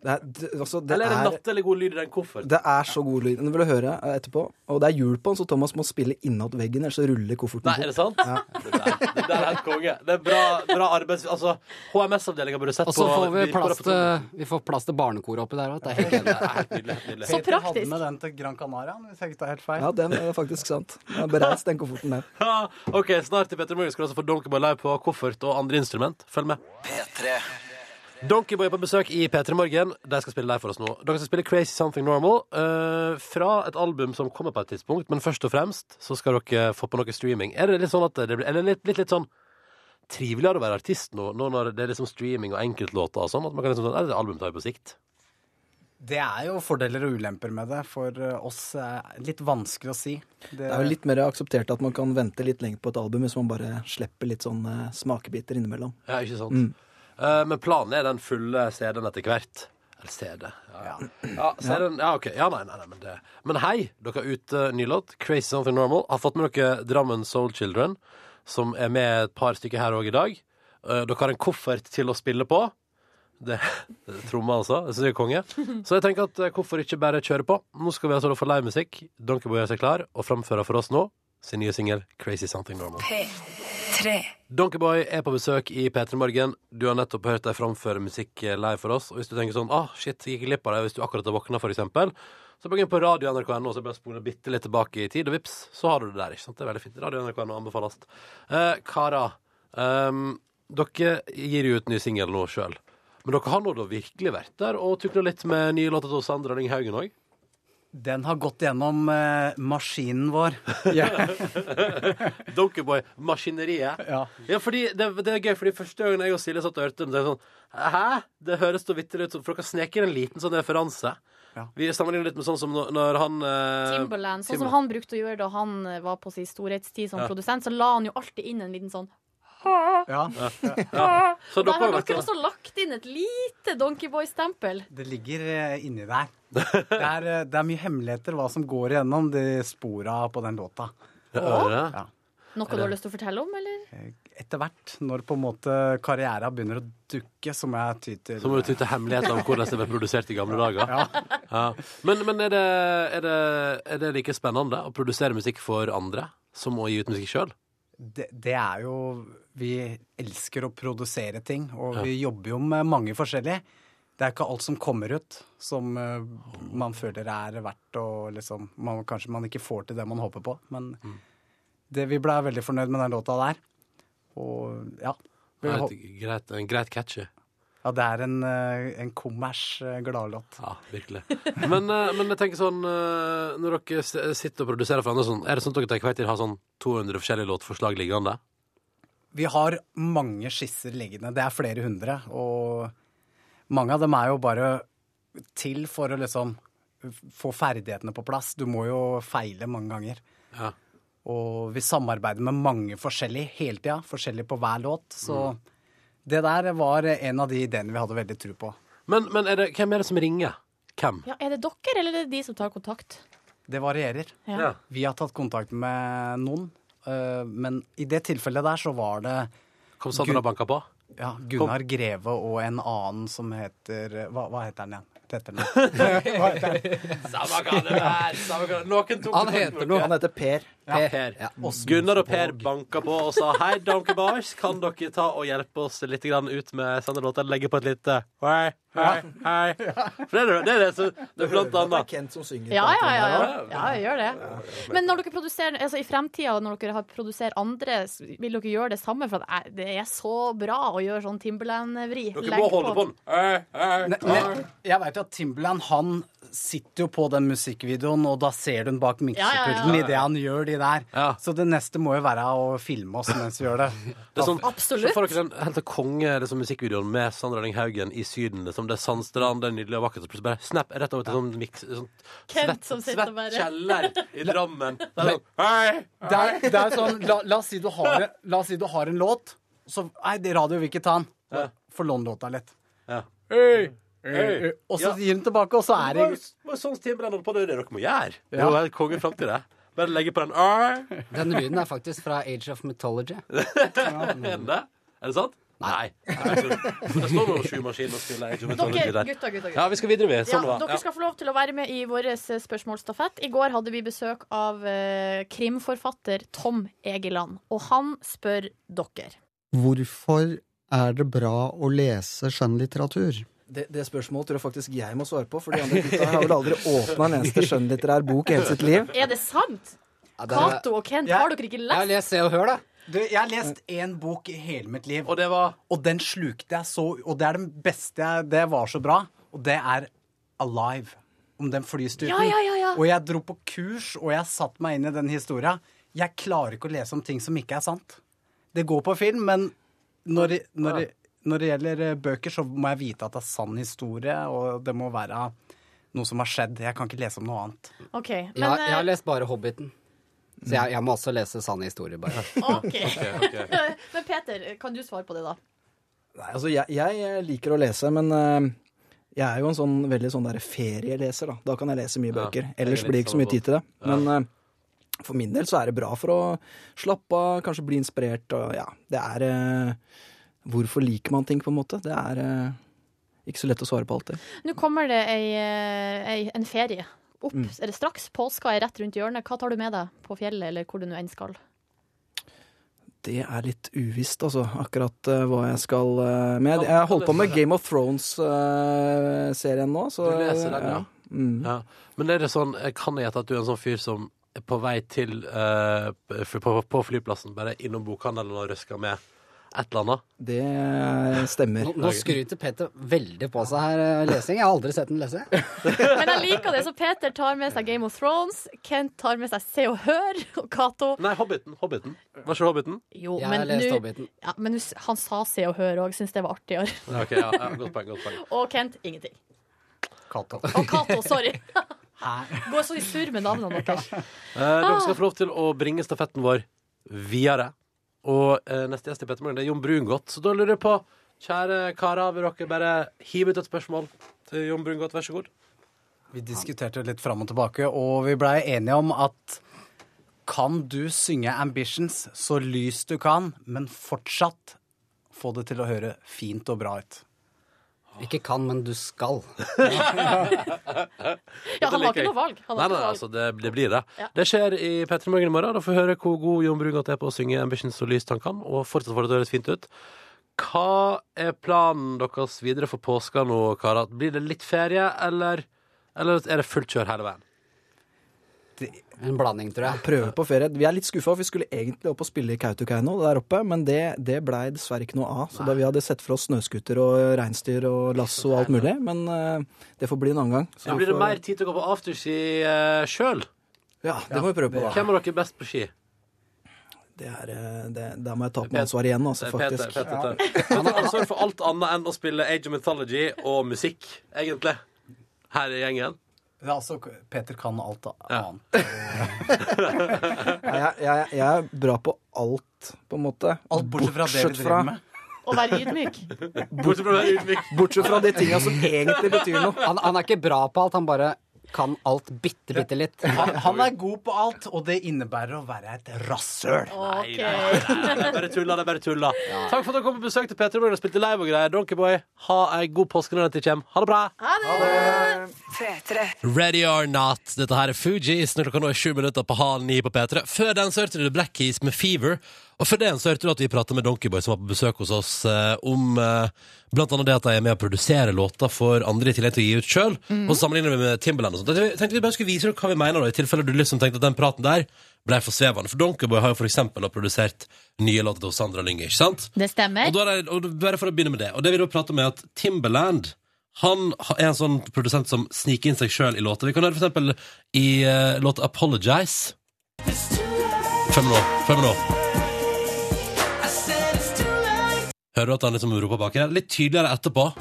G: Det er, det, altså, det
B: Eller er det
G: er
B: nattelig god lyd i den kofferten?
G: Det er så god lyd. Den vil du høre eh, etterpå. Og det er hjul på den, så Thomas må spille innat veggen, ellers så ruller kofferten
B: Nei, er det sant? Det, der, det der er helt konge. Det er bra, bra arbeids... Altså, HMS-avdelinga burde sett
F: Og så
B: på
F: får vi
B: bilder på
F: plass
B: det.
F: til, vi får plass til barnekoret oppi der òg. Det er helt enig.
B: Det er helt nydelig. helt nydelig.
C: Så
H: Peter hadde
C: praktisk.
H: med den til Gran Canaria, hvis jeg ikke tar helt feil.
G: Ja, den er faktisk sant. Den er bereist, den kofferten der.
B: Ja, ok, snart i Petter Morgen skal du altså få Donkeyboy live på koffert og andre instrument. Følg med. Donkeyboy er på besøk i P3 Morgen. De skal spille live for oss nå. Dere skal spille Crazy Something Normal eh, fra et album som kommer på et tidspunkt, men først og fremst så skal dere få på noe streaming. Er det litt sånn at det blir Eller litt, litt, litt sånn triveligere å være artist nå, nå når det er liksom streaming og enkeltlåter og sånn? At man kan liksom sånn Er det album tar vi på sikt?
G: Det er jo fordeler og ulemper med det. For eh, oss er litt vanskelig å si. Det,
E: Det er jo litt mer akseptert at man kan vente litt lenger på et album hvis man bare slipper litt sånn eh, smakebiter innimellom.
B: Ja, ikke sant? Eh, men planen er den fulle CD-en etter hvert. Eller CD. Ja, ja. CD-en, ja ok. Ja, nei, nei, nei, men det Men hei, dere er ute ny låt. Crazy Something Normal. Har fått med dere Drammen Soul Children, som er med et par stykker her òg i dag. Eh, dere har en koffert til å spille på. Det, det er (laughs) Tromme, altså. Jeg synes jeg er konge. Så jeg tenker at eh, hvorfor ikke bare kjøre på? Nå skal vi altså da få livemusikk. Donkeyboy gjør seg klar og framfører for oss nå sin nye singel 'Crazy Something Normal'. Donkeyboy er på besøk i P3 Morgen. Du har nettopp hørt deg framføre musikk eh, live for oss. Og hvis du tenker sånn ah, shit, jeg gikk glipp av det hvis du akkurat har våkna, for eksempel, så bare gå inn på radio nrk.no og så bare spole bitte litt tilbake i tid, og vips, så har du det der. ikke sant? Det er veldig fint. Radio nrk.no anbefales. Eh, karer, ehm, dere gir jo ut ny singel nå sjøl. Men dere har nå da virkelig vært der og tukla litt med nye låter til Sandra Lyng Haugen òg?
G: den har gått gjennom eh, maskinen vår. (laughs)
B: Donkeyboy, maskineriet.
G: Ja.
B: Ja, fordi det, det er gøy, fordi første gangen jeg og Silje satt og hørte den, så er det sånn Hæ? Det høres da vitterlig ut som For dere sneker en liten sånn referanse.
G: Ja.
B: Vi sammenligner litt med sånn som når, når han eh,
I: Timberland, sånn som
B: Timberland.
I: han brukte å gjøre da han eh, var på sin storhetstid som
B: Ja.
I: produsent, så la han jo alltid inn en liten sånn
G: Ja.
B: Så
I: Der
B: dere
I: har
B: har vært sånn,
I: dere også lagt inn et lite Donkeyboy-stempel.
G: Det ligger eh, inni der. Det er, eh, det er mye hemmeligheter hva som går igjennom de spora på den låta.
B: Ja.
G: Ja.
I: Noe du har lyst til å fortelle om, eller?
G: Etter hvert, når på en måte karriera begynner å dukke, så må jeg ty til
B: Så må du ty til hemmeligheten om hvordan det ble produsert i gamle dager. Ja. Men, men er, det, er, det, er det like spennende å produsere musikk for andre som å gi ut musikk sjøl?
G: det, det er jo Vi elsker å produsere ting, og vi jobber jo med mange forskjellige. Det er ikke alt som kommer ut som eh, man føler er verdt å liksom man, Kanskje man ikke får til det man håper på, men det, vi ble veldig fornøyd med den låta der. Og ja. Vi, hå-
B: Greit, en greit catchy.
G: ja det er en, eh, en kommers eh, gladlåt.
B: Ja, virkelig. Men, eh, men jeg tenker sånn eh, Når dere s- sitter og produserer for andre sånn, er det sånn at dere til hver tid har sånn 200 forskjellige låtforslag liggende?
G: Vi har mange skisser liggende. Det er flere hundre. Og mange av dem er jo bare til for å liksom få ferdighetene på plass. Du må jo feile mange ganger.
B: Ja.
G: Og vi samarbeider med mange forskjellige hele tida. Forskjellige på hver låt. Så det der var en av de ideene vi hadde veldig tro på.
B: Men, men er det, hvem er det som ringer? Hvem?
I: Ja, Er det dere, eller er det de som tar kontakt?
G: Det varierer.
B: Ja.
G: Vi har tatt kontakt med noen, øh, men i det tilfellet der så var det
B: Kom Sandra og banka på?
G: ja, Gunnar Greve og en annen som heter Hva, hva heter han igjen? Det heter han. (laughs)
B: Samme hva det er! samme hva- Noen tok
F: Han
B: kontakt
F: heter
B: med
F: noe.
B: dere.
E: Han heter Per.
B: Per. Gunnar og Per banka på og sa hei, Donkey Boys, kan dere ta og hjelpe oss litt grann ut med Sander-låta? Legge på et lite hei, hei, hei. For det er det, det, er det, som- det er blant
E: Det er
B: annet.
E: Kent som synger.
I: Ja, ja, ja. ja. ja jeg gjør det. Men når dere produserer, altså i fremtida, når dere har produserer andre, s- vil dere gjøre det samme? For at eh, det er så bra å gjøre sånn Timberland-vri.
B: Dere må holde på den. Hei, hei.
G: Ne- ne- Jeg veit at Timberland han sitter jo på den musikkvideoen, og da ser du den bak miksepulten
I: Ja, ja, ja.
G: idet han gjør de der.
B: Ja.
G: Så det neste må jo være å filme oss mens vi gjør det.
B: Det er sånn,
I: Absolutt.
B: Så får dere den helt til konge liksom, musikkvideoen med Sandra Lyng Haugen i Syden. Liksom. Det er sandstrand, det er nydelig og vakkert. Og plutselig bare snap rett over til sånn miks sånn,
I: Kent som sitter og bare- (laughs)
B: kjeller i Drammen. Det er sånn, hei!
G: (laughs) Det er, det er sånn, la, la, oss si du har, en- la oss si du har en låt, så Nei, det radio vil ikke ta den.
B: Ja.
G: Få låne låta litt.
B: Ja.
G: Eh, Og så
B: Ja.
G: gir den tilbake, og så er
B: Det
G: det
B: var jo sånn Timberland holdt på, det er det dere må gjøre. Det er
G: Ja.
B: jo helt konge frem til det. Bare legge på den hei.
F: Den lyden er faktisk fra Age of Mythology.
I: Mm.
B: (laughs) Er det? Er det sant? Nei. Det står noen sjumaskin og spiller. jeg vet ikke
I: Dere,
B: om det Sånn er
I: gutta,
B: der.
I: gutta, gutta.
B: Ja, vi skal videre med.
I: Ja,
B: Sånn var
I: dere skal få lov til å være med i vår eh, spørsmålsstafett. I går hadde vi besøk av eh, krimforfatter Tom Egeland, og han spør dere.
J: Hvorfor er det bra å lese skjønnlitteratur?
E: Det, det spørsmålet tror jeg faktisk jeg må svare på, for de andre gutta har vel aldri åpna en eneste skjønnlitterær bok i hele sitt liv.
I: Er det sant?
F: Ja, det er-
I: Cato og Kent, har dere ikke
F: Jeg har
I: lest?
F: lest Se og Hør, da.
G: Du, jeg har lest én bok i hele mitt liv,
K: Og det var
G: og den slukte jeg så Og det er den beste jeg Det var så bra, og det er Alive. Om den flystyrten.
I: Ja, ja, ja, ja.
G: Og jeg dro på kurs, og jeg satte meg inn i den historia. Jeg klarer ikke å lese om ting som ikke er sant. Det går på film, men når, når, når det gjelder eh, bøker, så må jeg vite at det er sann historie, og det må være noe som har skjedd. Jeg kan ikke lese om noe annet.
I: OK.
F: Jeg,
I: Men
F: har-
C: eh,
F: jeg har lest bare Hobbiten. Så jeg, jeg må også lese sanne historier, bare.
I: eh, ok. (laughs) Men Peter, kan du svare på det, da?
E: Nei, altså, jeg, jeg liker å lese, men eh, jeg er jo en sånn veldig sånn der ferieleser, da. Da kan jeg lese mye
B: Ja,
E: bøker.
B: jeg er
E: Ellers
B: litt sånn
E: blir det ikke så mye
B: samme
E: tid til det. Men eh, for min del så er det bra for å slappe av, kanskje bli inspirert, og ja, det er eh, Hvorfor liker man ting, på en måte? Det er eh, ikke så lett å svare på alltid.
I: Nå kommer det ei, eh, ei, en ferie opp. Er det straks? Påska er rett rundt hjørnet. Hva tar du med deg på fjellet, eller hvor du nå enn skal?
E: Det er litt uvisst, altså, akkurat eh, hva jeg skal eh, med. Jeg holder på med Game of Thrones-serien nå, så
B: Du leser den, ja.
E: Mm.
B: Ja. Men er det sånn, jeg kan jeg gjette at du er en sånn fyr som er på vei til eh, f- på, på flyplassen, bare innom bokhandelen og røsker med et eller annet?
E: Det eh, stemmer.
F: Nå, nå skryter Peter veldig på seg her eh, lesing. Jeg har aldri sett den lese.
I: Men jeg liker det, så Peter tar med seg Game of Thrones, Kent tar med seg Se og Hør, og Cato
B: Nei, Hobbiten. Hobbiten. Var ikke det Hobbiten?
I: Jo,
F: Jeg
I: men
F: har lest
I: nå-
F: Hobbiten.
I: ja, men nå- han sa Se og Hør òg, syns det var artigere. (laughs)
B: Ja, ok, ja, ja, godt poeng, godt poeng.
I: Og Kent ingenting.
G: Kato.
I: Og Cato, sorry. Går så i surr med navnene deres.
B: Eh, dere skal få lov til å bringe stafetten vår videre. Og eh, neste gjest i Petter Morgen det er Jon Brungot. Så da lurer jeg på, kjære karer, vil dere bare hive ut et spørsmål til Jon Brungot, vær så god?
G: (laughs) Vi diskuterte litt fram og tilbake, og vi blei enige om at kan du synge 'Ambitions' så lyst du kan, men fortsatt få det til å høre fint og bra ut?
F: Ikke kan, men du skal.
I: Ja, han har
B: liker jeg.
I: ikke noe valg. Han har ikke
B: Nei, nei,
I: noe valg.
B: altså, det, det blir det.
I: Ja.
B: Det skjer i P3 Morgen i morgen. Da får vi høre hvor god Jon Brungot er på å synge 'Ambitions' så lyst han kan, og fortsatt får det til å høres fint ut. Hva er planen deres videre for påska nå, karer? Blir det litt ferie, eller, eller er det fullt kjør hele veien?
F: En blanding, tror jeg.
E: Prøve på ferie. Vi er litt skuffa, for vi skulle egentlig opp og spille i Kautokeino der oppe, men det, det blei dessverre ikke noe av. Så da vi hadde sett for oss snøscooter og reinsdyr og lasso og alt mulig, men eh, det får bli en annen gang. Så
B: Da blir det
E: får-
B: mer tid til å gå på afterski uh, sjøl.
E: Ja, det må vi prøve på. da.
B: Hvem av dere er best på ski?
E: Det er, eh, det, der må jeg ta på meg ansvaret igjen, altså,
B: Eh, Peter.
E: faktisk.
B: Peter, tar. Peter tar ansvar for alt annet enn å spille Age of Mythology og musikk, egentlig. Her i gjengen.
G: Det er altså, Peter kan alt
B: Ja.
E: (laughs)
G: annet.
E: Nei, Jeg, jeg, jeg er bra på alt, på en måte.
G: Alt bortsett fra det vi driver med.
I: Å være ydmyk.
B: Bortsett fra å være ydmyk.
E: Bortsett fra de tinga som egentlig betyr noe.
F: Han, han er ikke bra på alt, han bare kan alt bitte, bitte litt.
G: Han, han er god på alt, og det innebærer å være et rasshøl.
I: Ok.
B: Det er bare tulla, det er bare tulla. Takk for at dere kom på besøk til P3 Morgen og spilte live og greier. Donkeyboy, ha ei god påske når dette kommer. Ha det bra! Ready or not. Dette her er Fugees når klokka nå er sju minutter på halv ni på P3. Før den så hørte du Black Keys med Fever. Og før den så hørte du at vi prata med Donkeyboy som var på besøk hos oss eh, om eh, blant annet det at de er med å produsere låter for andre i tillegg til å gi ut sjøl. Og sammenligner vi med Timberland og sånt. Jeg tenkte vi bare skulle vise dere hva vi mener, da, i tilfelle du liksom tenkte at den praten der ble for svevende. For Donkeyboy har jo for eksempel da produsert nye låter til Sandra Lynge, ikke sant?
C: Det stemmer.
B: Og da er det, og bare for å begynne med det Og det vi da prater om er at Timberland Han ha- er en sånn produsent som sniker inn seg selv i låter Vi kan høre for eksempel i eh, låta Apologize Fem nå, fem nå Hører du at han liksom roper bak her? Litt tydeligere etterpå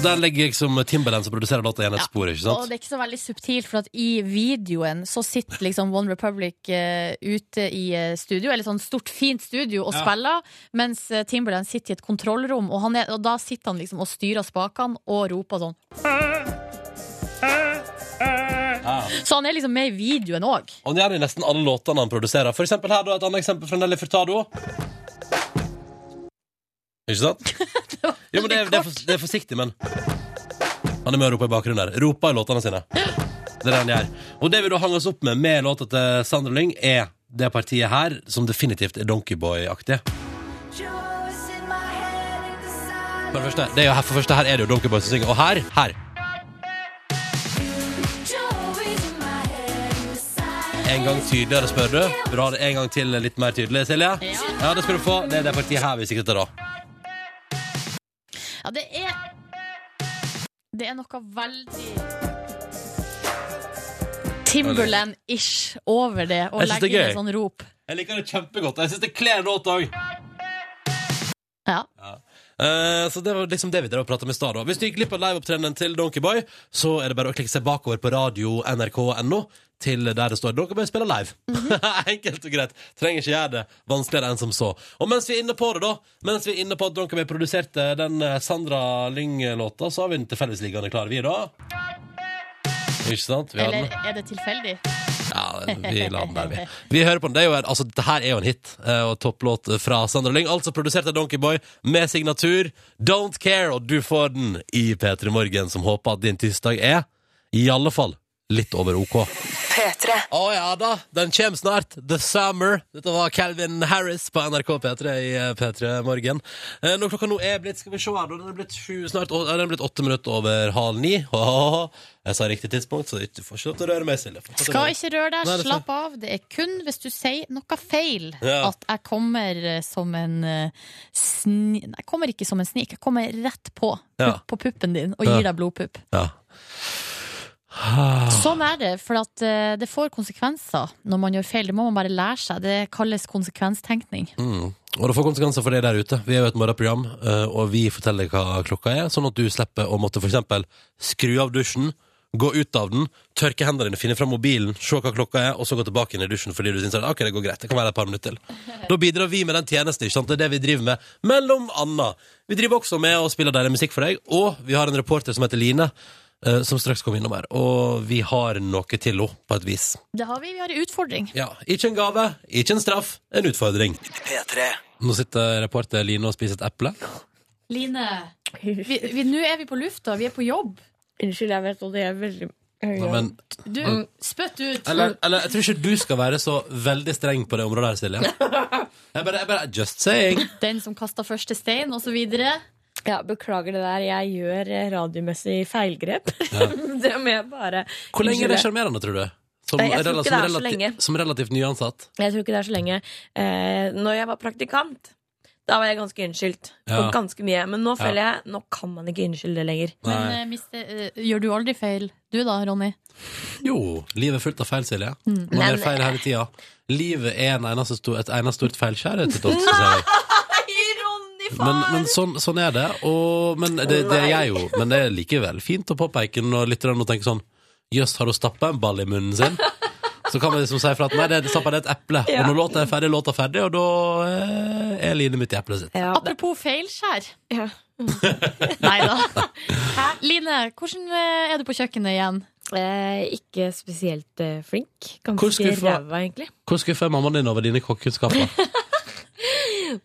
B: Og der legger jeg som Timberland som produserer låta igjen et
C: Ja,
B: spor, ikke
C: Og
B: sant?
C: det er ikke så veldig subtilt, for at i videoen så sitter liksom One Republic eh, ute i eh, studio, eller sånn stort, fint studio, og
B: Ja.
C: spiller, mens eh, Timberland sitter i et kontrollrom, og, han er, og da sitter han liksom og styrer spakene og roper sånn. Så han er liksom med i videoen òg.
B: Og det gjør det i nesten alle låtene han produserer. For eksempel her da, et annet eksempel fra Nelly Furtado. Ikke sant? Jo, men (laughs) det, er- det, er, for, det er forsiktig, men Han er med og roper i bakgrunnen der. Roper i låtene sine. Det er det han gjør. Og det vi da hang oss opp med med låta til Sandra Lyng, er det partiet her som definitivt er Donkeyboy-aktig. For det første, det er jo her, for det første, her er det jo Donkeyboy som synger. Og her, her en gang tydeligere, spør du. Vil du ha det en gang til litt mer tydelig, Silje? Ja, det skal du få. Det er det partiet her vi sikter til, da.
C: Ja, det er Det er noe veldig Timberland-ish over det, å
B: Jeg synes
C: legge
B: det er
C: inn et
B: gøy.
C: sånt rop.
B: Jeg liker det kjempegodt. Jeg syns det kler låta òg.
C: Ja.
B: Eh, Så det var liksom det vi drev og prata med i stad. da. Hvis du gikk glipp av liveopptredenen til Donkeyboy, så er det bare å klikke seg bakover på radio nrk.no til der det står Donkeyboy spiller live. (laughs) Enkelt og greit. Trenger ikke gjøre det vanskeligere enn som så. Og mens vi er inne på det, da, mens vi er inne på at Donkeyboy produserte den eh, Sandra Lyng-låta, så har vi den tilfeldigvis liggende klar, vi, da. Ikke sant? Vi har den.
C: Eller er det tilfeldig?
B: Ja, vi lar den der, vi. Vi hører på den. Det er jo, en- altså, dette her er jo en hit eh, og topplåt fra Sandra Lyng. Altså produsert av Donkeyboy med signatur Don't Care, og du får den i P3 Morgen, som håper at din tirsdag er i alle fall litt over OK. Å ja da, den kommer snart. The Summer. Dette var Calvin Harris på NRK P3 i eh, P3 Morgen. Eh, Når klokka nå er blitt skal vi se her, da, den er blitt sju, snart, å- den er blitt åtte minutter over halv ni. (laughs) Hahaha. Jeg sa riktig tidspunkt, så du får ikke lov til å røre meg, Silje. Fortsatt å
C: Skal
B: røre-
C: ikke røre
B: Nei,
C: deg,
B: det er
C: slapp av. Det er kun hvis du sier noe feil
B: Ja.
C: at jeg kommer eh, som en eh, sni... Nei, jeg kommer ikke som en snik. Jeg kommer rett på,
B: Ja.
C: på puppen din og
B: Ja. Ah.
C: gir deg blodpupp.
B: Ja.
C: Sånn er det, for at eh, det får konsekvenser når man gjør feil. Det må man bare lære seg. Det kalles konsekvenstenkning.
B: Mm. Og det får konsekvenser for deg der ute. Vi er jo et morgenprogram, eh, og vi forteller deg hva klokka er, sånn at du slipper å måtte for eksempel skru av dusjen, gå ut av den, tørke hendene dine, finne fram mobilen, se hva klokka er, og så gå tilbake inn i dusjen fordi du syns at ok, det går greit, det kan være et par minutter til. Da bidrar vi med den tjenesten, ikke sant. Det er det vi driver med, mellom anna. Vi driver også med å spille deilig musikk for deg, og vi har en reporter som heter Line, eh, som straks kommer innom her, og vi har noe til henne, på et vis.
C: Det har vi. Vi har en utfordring.
B: Ja, ikke en gave, ikke en straff, en utfordring. Nå sitter reporter Line og spiser et eple.
C: Line, vi- vi- nå er vi på lufta. Vi er på jobb.
G: Unnskyld, jeg vet at det er veldig
B: Nei, men,
C: Du, spytt ut.
B: Mm. eller, eller jeg tror ikke du skal være så veldig streng på det området her, Silje. Jeg bare, jeg bare Just saying.
C: Den som kasta første stein, og så videre.
G: Ja, beklager det der. Jeg gjør eh, radiomessig feilgrep. (laughs) det må jeg bare
B: Hvor lenge er det
G: Unnskyld,
B: sjarmerende, tror du? Som,
G: Jeg tror ikke
B: som
G: det er så
B: relati-
G: lenge.
B: Som relativt nyansatt.
G: Jeg jeg tror ikke det er så lenge. Eh, når jeg var praktikant, da var jeg ganske unnskyldt.
B: Ja.
G: Og ganske mye. Men nå føler jeg nå kan man ikke unnskylde det lenger.
C: Men
B: Nei.
C: eh, mister, eh, gjør du aldri feil? Du da, Ronny?
B: Jo, livet er fullt av feil, Silje.
G: Mm.
B: Man gjør feil hele tida. Livet er en eneste stor, et eneste stort feilskjær. til tolv, synes jeg.
G: Ironi,
B: Men, men sånn, sånn er det. Og, men det, det er jeg jo. Men det er likevel fint å påpeke når lytterne tenker sånn Jøss, har hun stappa en ball i munnen sin? Så kan man liksom si fra at nei, det, stappa det er et eple. Og når låta er ferdig, låta er ferdig, og da eh, er Line midt i eplet sitt.
G: Ja, det,
C: Apropos feilskjær.
G: Ja.
C: (laughs) Nei da. Line, hvordan eh, er du på kjøkkenet igjen?
G: eh, ikke spesielt eh, flink.
B: Hvor
G: Ganske
B: skuffa-
G: ræva, egentlig.
B: Hvor skuffa er mammaen din over dine kokkekunnskaper?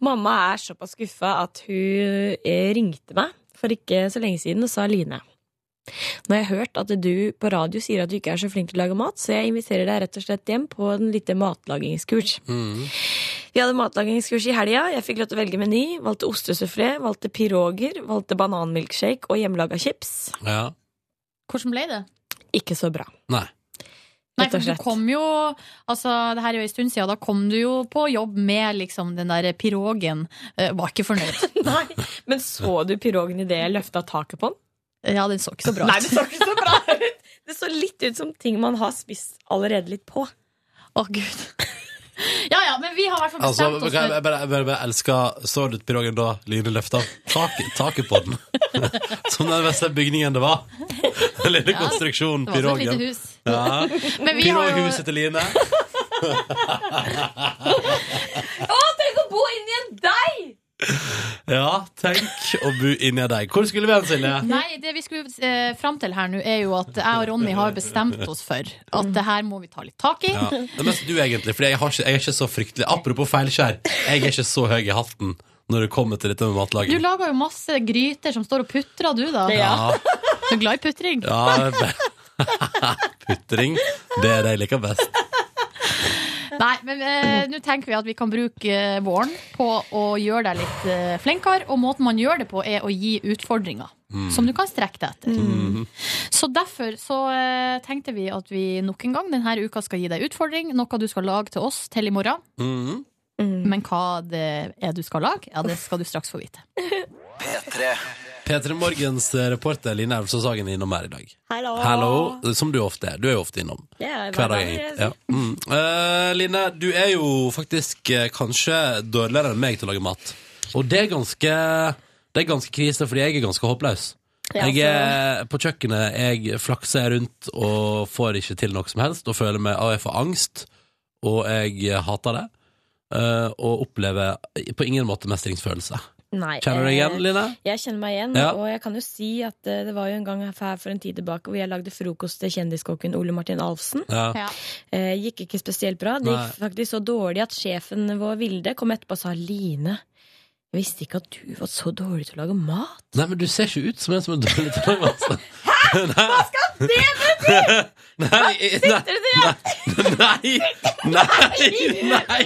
G: Mamma er såpass skuffa at hun eh, ringte meg for ikke så lenge siden og sa Line. Nå har jeg hørt at du på radio sier at du ikke er så flink til å lage mat, så jeg inviterer deg rett og slett hjem på en liten matlagingskurs.
B: Mm.
G: Vi hadde matlagingskurs i helga. Jeg fikk lov til å velge meny. Valgte ostesufflé, valgte piroger, valgte bananmilkshake og hjemmelaga chips.
B: Ja.
C: Hvordan ble det?
G: Ikke så bra.
B: Nei.
C: Nei,
G: Rett og
C: for du
G: slett.
C: kom jo Altså, det her er jo en stund siden, da kom du jo på jobb med liksom den der pirogen. Eh, var ikke
G: (laughs)
C: fornøyd.
G: (laughs) Nei, Men så du pirogen idet jeg løfta taket på den?
C: Ja, den så ikke så bra
G: Nei,
C: ut.
G: det så ikke (laughs) så bra ut! Det så litt ut som ting man har spist allerede litt på.
C: Å, gud. Ja ja, men vi har i hvert fall
B: Altså,
C: bestemt
B: jeg
C: oss
B: bare,
C: for
B: jeg bare, jeg bare, elsker Så du pirogen da Line løfta taket taket (laughs) på den? Som den beste bygningen det var. (laughs) Den lille konstruksjonen,
C: Det var som et
B: pirogen.
C: lite hus.
B: Ja.
C: Men vi har jo
B: Piroghuset til Line.
G: Å, tenk å bo inni en deig!
B: (laughs) Ja, tenk å bo inni deg. Hvor skulle vi hen, Silje?
C: Nei, det vi skulle eh, fram til her nå, er jo at jeg og Ronny har bestemt oss for at det her må vi ta litt tak i.
B: Ja, det er mest du, egentlig. For jeg, har ikke, jeg er ikke så fryktelig Apropos feilskjær, jeg er ikke så høy i hatten når det kommer til dette med
C: Du
B: matlaging.
C: lager jo masse gryter som står og putrer, du da.
B: Ja,
C: Du er glad i putring.
B: ja (laughs) Putring. Det er det jeg liker best.
C: Nei, men eh, nå tenker vi at vi kan bruke eh, våren på å gjøre deg litt eh, flinkere. Og måten man gjør det på, er å gi utfordringer.
B: Mm.
C: som du kan strekke deg etter.
B: Mhm.
C: Så derfor så eh, tenkte vi at vi nok en gang denne uka skal gi deg utfordring, noe du skal lage til oss til i morgen.
B: Mhm.
C: Men hva det er du skal lage, ja, det skal du straks få vite.
B: P3 Morgens eh, reporter Line Elvsås Hagen er innom her i dag.
A: Hallo.
B: Hallo, som du ofte er. Du er jo ofte innom.
A: Det
B: Hver
A: er
B: dag,
A: hverdagen,
B: egentlig.
A: jeg
B: Ja. Mm. Eh, Line, du er jo faktisk eh, kanskje dårligere enn meg til å lage mat. Og det er ganske, det er ganske krise, fordi jeg er ganske håpløs.
A: Ja,
B: Jeg er på kjøkkenet, jeg flakser rundt og får ikke til noe som helst, og føler meg, og jeg får angst, og jeg hater det. eh, og opplever på ingen måte mestringsfølelse.
K: Nei,
B: Kjenner du deg igjen,
K: eh,
B: Line?
K: Jeg kjenner meg igjen,
B: Ja.
K: og jeg kan jo si at eh, det var jo en gang her for en tid tilbake hvor jeg lagde frokost til kjendiskokken Ole Martin Alfsen.
B: Ja.
K: Eh, gikk ikke spesielt bra. Det gikk faktisk så dårlig at sjefen vår, Vilde, kom etterpå og sa Line, jeg visste ikke at du var så dårlig til å lage mat.
B: Nei, men du ser ikke ut som en som er dårlig til å lage mat. (laughs) Hæ?! Hva skal det bety?! Nei, nei, nei, nei, nei,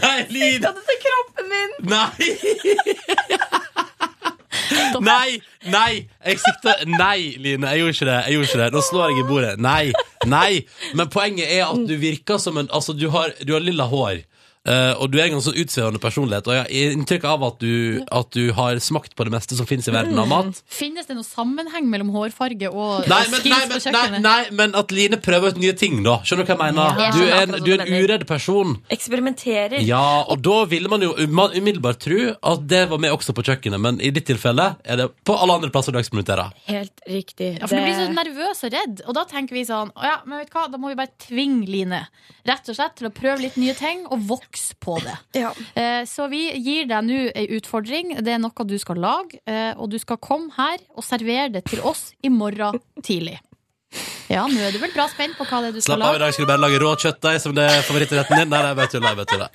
B: nei, Line,
A: Det er kroppen min!
B: nei, nei, nei, jeg sikta, nei, Line, jeg gjorde ikke det, jeg gjorde ikke det, nå slår jeg i bordet, nei, nei, men poenget er at du virker som en, altså du har, du har lilla hår, eh, og du er en ganske utseende personlighet, og jeg har inntrykk av at du, at du har smakt på det meste som finnes i verden av mat,
C: Finnes det noen sammenheng mellom hårfarge og
B: Nei men, nei,
C: skins på
B: men, nei,
C: kjøkkenet?
B: nei, men at Line prøver ut nye ting, da. Skjønner du hva jeg mener?
K: Ja, jeg
B: Du er
K: skjønner
B: en,
K: akkurat
B: du er
K: hva du
B: en
K: mener.
B: uredd person.
K: Eksperimenterer.
B: Ja, og da ville man jo umma- umiddelbart tro at det var med også på kjøkkenet, men i ditt tilfelle er det på alle andre plasser du eksperimenterer.
K: Helt riktig.
C: Ja, for Du blir så
K: Det-
C: nervøs og redd, og da tenker vi sånn Å ja, men vet du hva, da må vi bare tvinge Line Rett og slett til å prøve litt nye ting og vokse på det.
A: Ja.
C: Eh, Så vi gir deg nå ei utfordring. Det er noe du skal lage, eh, og du skal komme her og servere det til oss i morgen tidlig. Ja, nå er du vel bra spent på hva det er du skal
B: Slapp av, i
C: lage?
B: dag skal du bare lage rå kjøttdeig som det er favorittretten din. Nei, nei, bare tulla. bare tulla.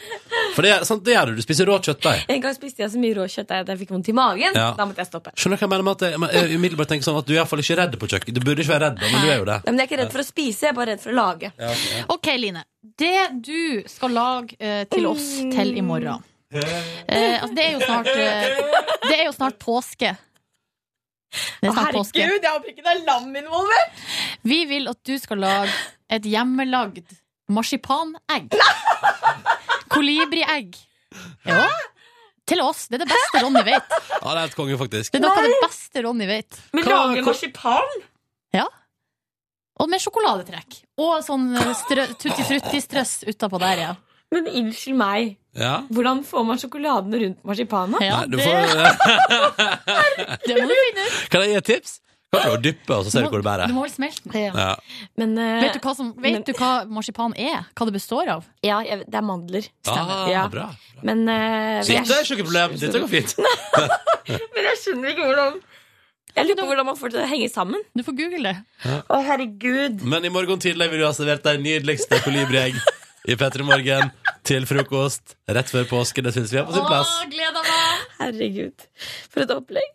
B: For det, er- sant, det gjør du. Du spiser rå kjøttdeig.
K: En gang spiste jeg så mye råkjøtt at jeg fikk vondt i magen.
B: Ja.
K: Da måtte jeg stoppe.
B: Skjønner du hva jeg mener med at jeg, men jeg umiddelbart tenker sånn at du er iallfall ikke redd på kjøkkenet. Du burde ikke være redd, da, men du er jo det.
A: Nei, men jeg er ikke redd for å spise, jeg er bare redd for å lage.
B: Ja, ok, ja.
C: Ok, Line. Det du skal lage eh, til oss til i morgen eh, altså, det, er jo snart, eh, det er jo snart påske. Det er snart påske.
A: Herregud, jeg håper ikke det er lam involvert!
C: Vi vil at du skal lage et hjemmelagd marsipanegg. Kolibriegg. Ja. Til oss. Det er det beste Ronny vet.
B: Ja, det er helt konge, faktisk.
C: Det er noe av det beste Ronny vet.
A: Men
B: Hva-
A: lage
B: hva-
A: marsipan?
C: Og med sjokoladetrekk. Og sånn eh, strø, tutti frutti-strøss utapå der, ja.
K: Men unnskyld meg,
B: Ja.
K: hvordan får man sjokoladen rundt
C: (laughs)
K: marsipanet?
C: ja
B: Nei, du
C: det,
B: får,
C: det må du finne ut.
B: kan jeg gi et tips? Kan du dyppe, og så ser du hvor det bærer?
C: Du må vel smelte den.
B: Ja.
K: Men eh,
C: Vet du, hva som, vet du hva marsipan er? Hva det består av?
K: ja, jeg, det er mandler.
B: Ah,
K: Ja.
B: bra.
K: Men, eh,
B: Dette er
K: jeg,
B: ikke noe problem. Dette går
C: (laughs)
B: fint.
K: men jeg skjønner ikke hvordan Jeg lurer på hvordan man får det til å henge sammen.
C: Du får google det.
A: Å, herregud.
B: Men i morgen tidlig vil du ha servert deg nydeligste kolibriegg i P3 Morgen til frokost rett før påske. Det syns vi er på sin plass.
C: gleder meg!
K: Herregud, for et opplegg.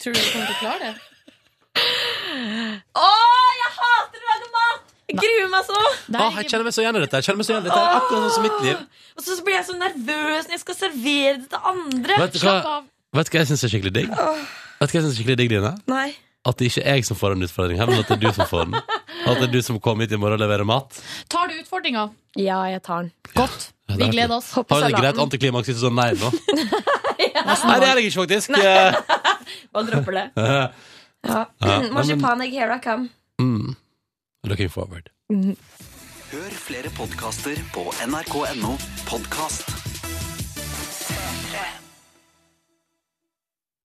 C: Tror du du kommer til å klare det?
A: Å, jeg hater å lage mat! Jeg gruer meg så!
C: Det
B: Ah,
C: er
B: jeg
C: ikke,
B: kjenner meg så igjen i dette. Jeg kjenner meg så igjen i dette. Det er akkurat sånn som mitt liv.
A: Og så blir jeg så nervøs når jeg skal servere det til andre.
B: Vet du hva,
C: slapp av.
B: vet du hva jeg syns er skikkelig digg? Vet du hva jeg synes er skikkelig digg, Line?
A: Nei.
B: At det ikke er jeg som får den utfordringen, her, men at det er du som får den. At det er du som kommer hit i morgen og leverer mat.
C: Tar du utfordringa?
K: Ja, jeg tar den.
C: Godt. Vi gleder oss.
B: Har vi det greit antiklimaks hvis du sånn nei (laughs) nå? Nei, det
C: Nesten.
B: er jeg ikke, faktisk. Eh,
A: (laughs) Bare dropper
B: (laughs)
A: det.
B: eh,
A: Ja.
B: Ja, men-
A: Marsipanegg, here I come.
B: mm. Looking forward.
L: Hør flere podkaster på nrk.no podkast.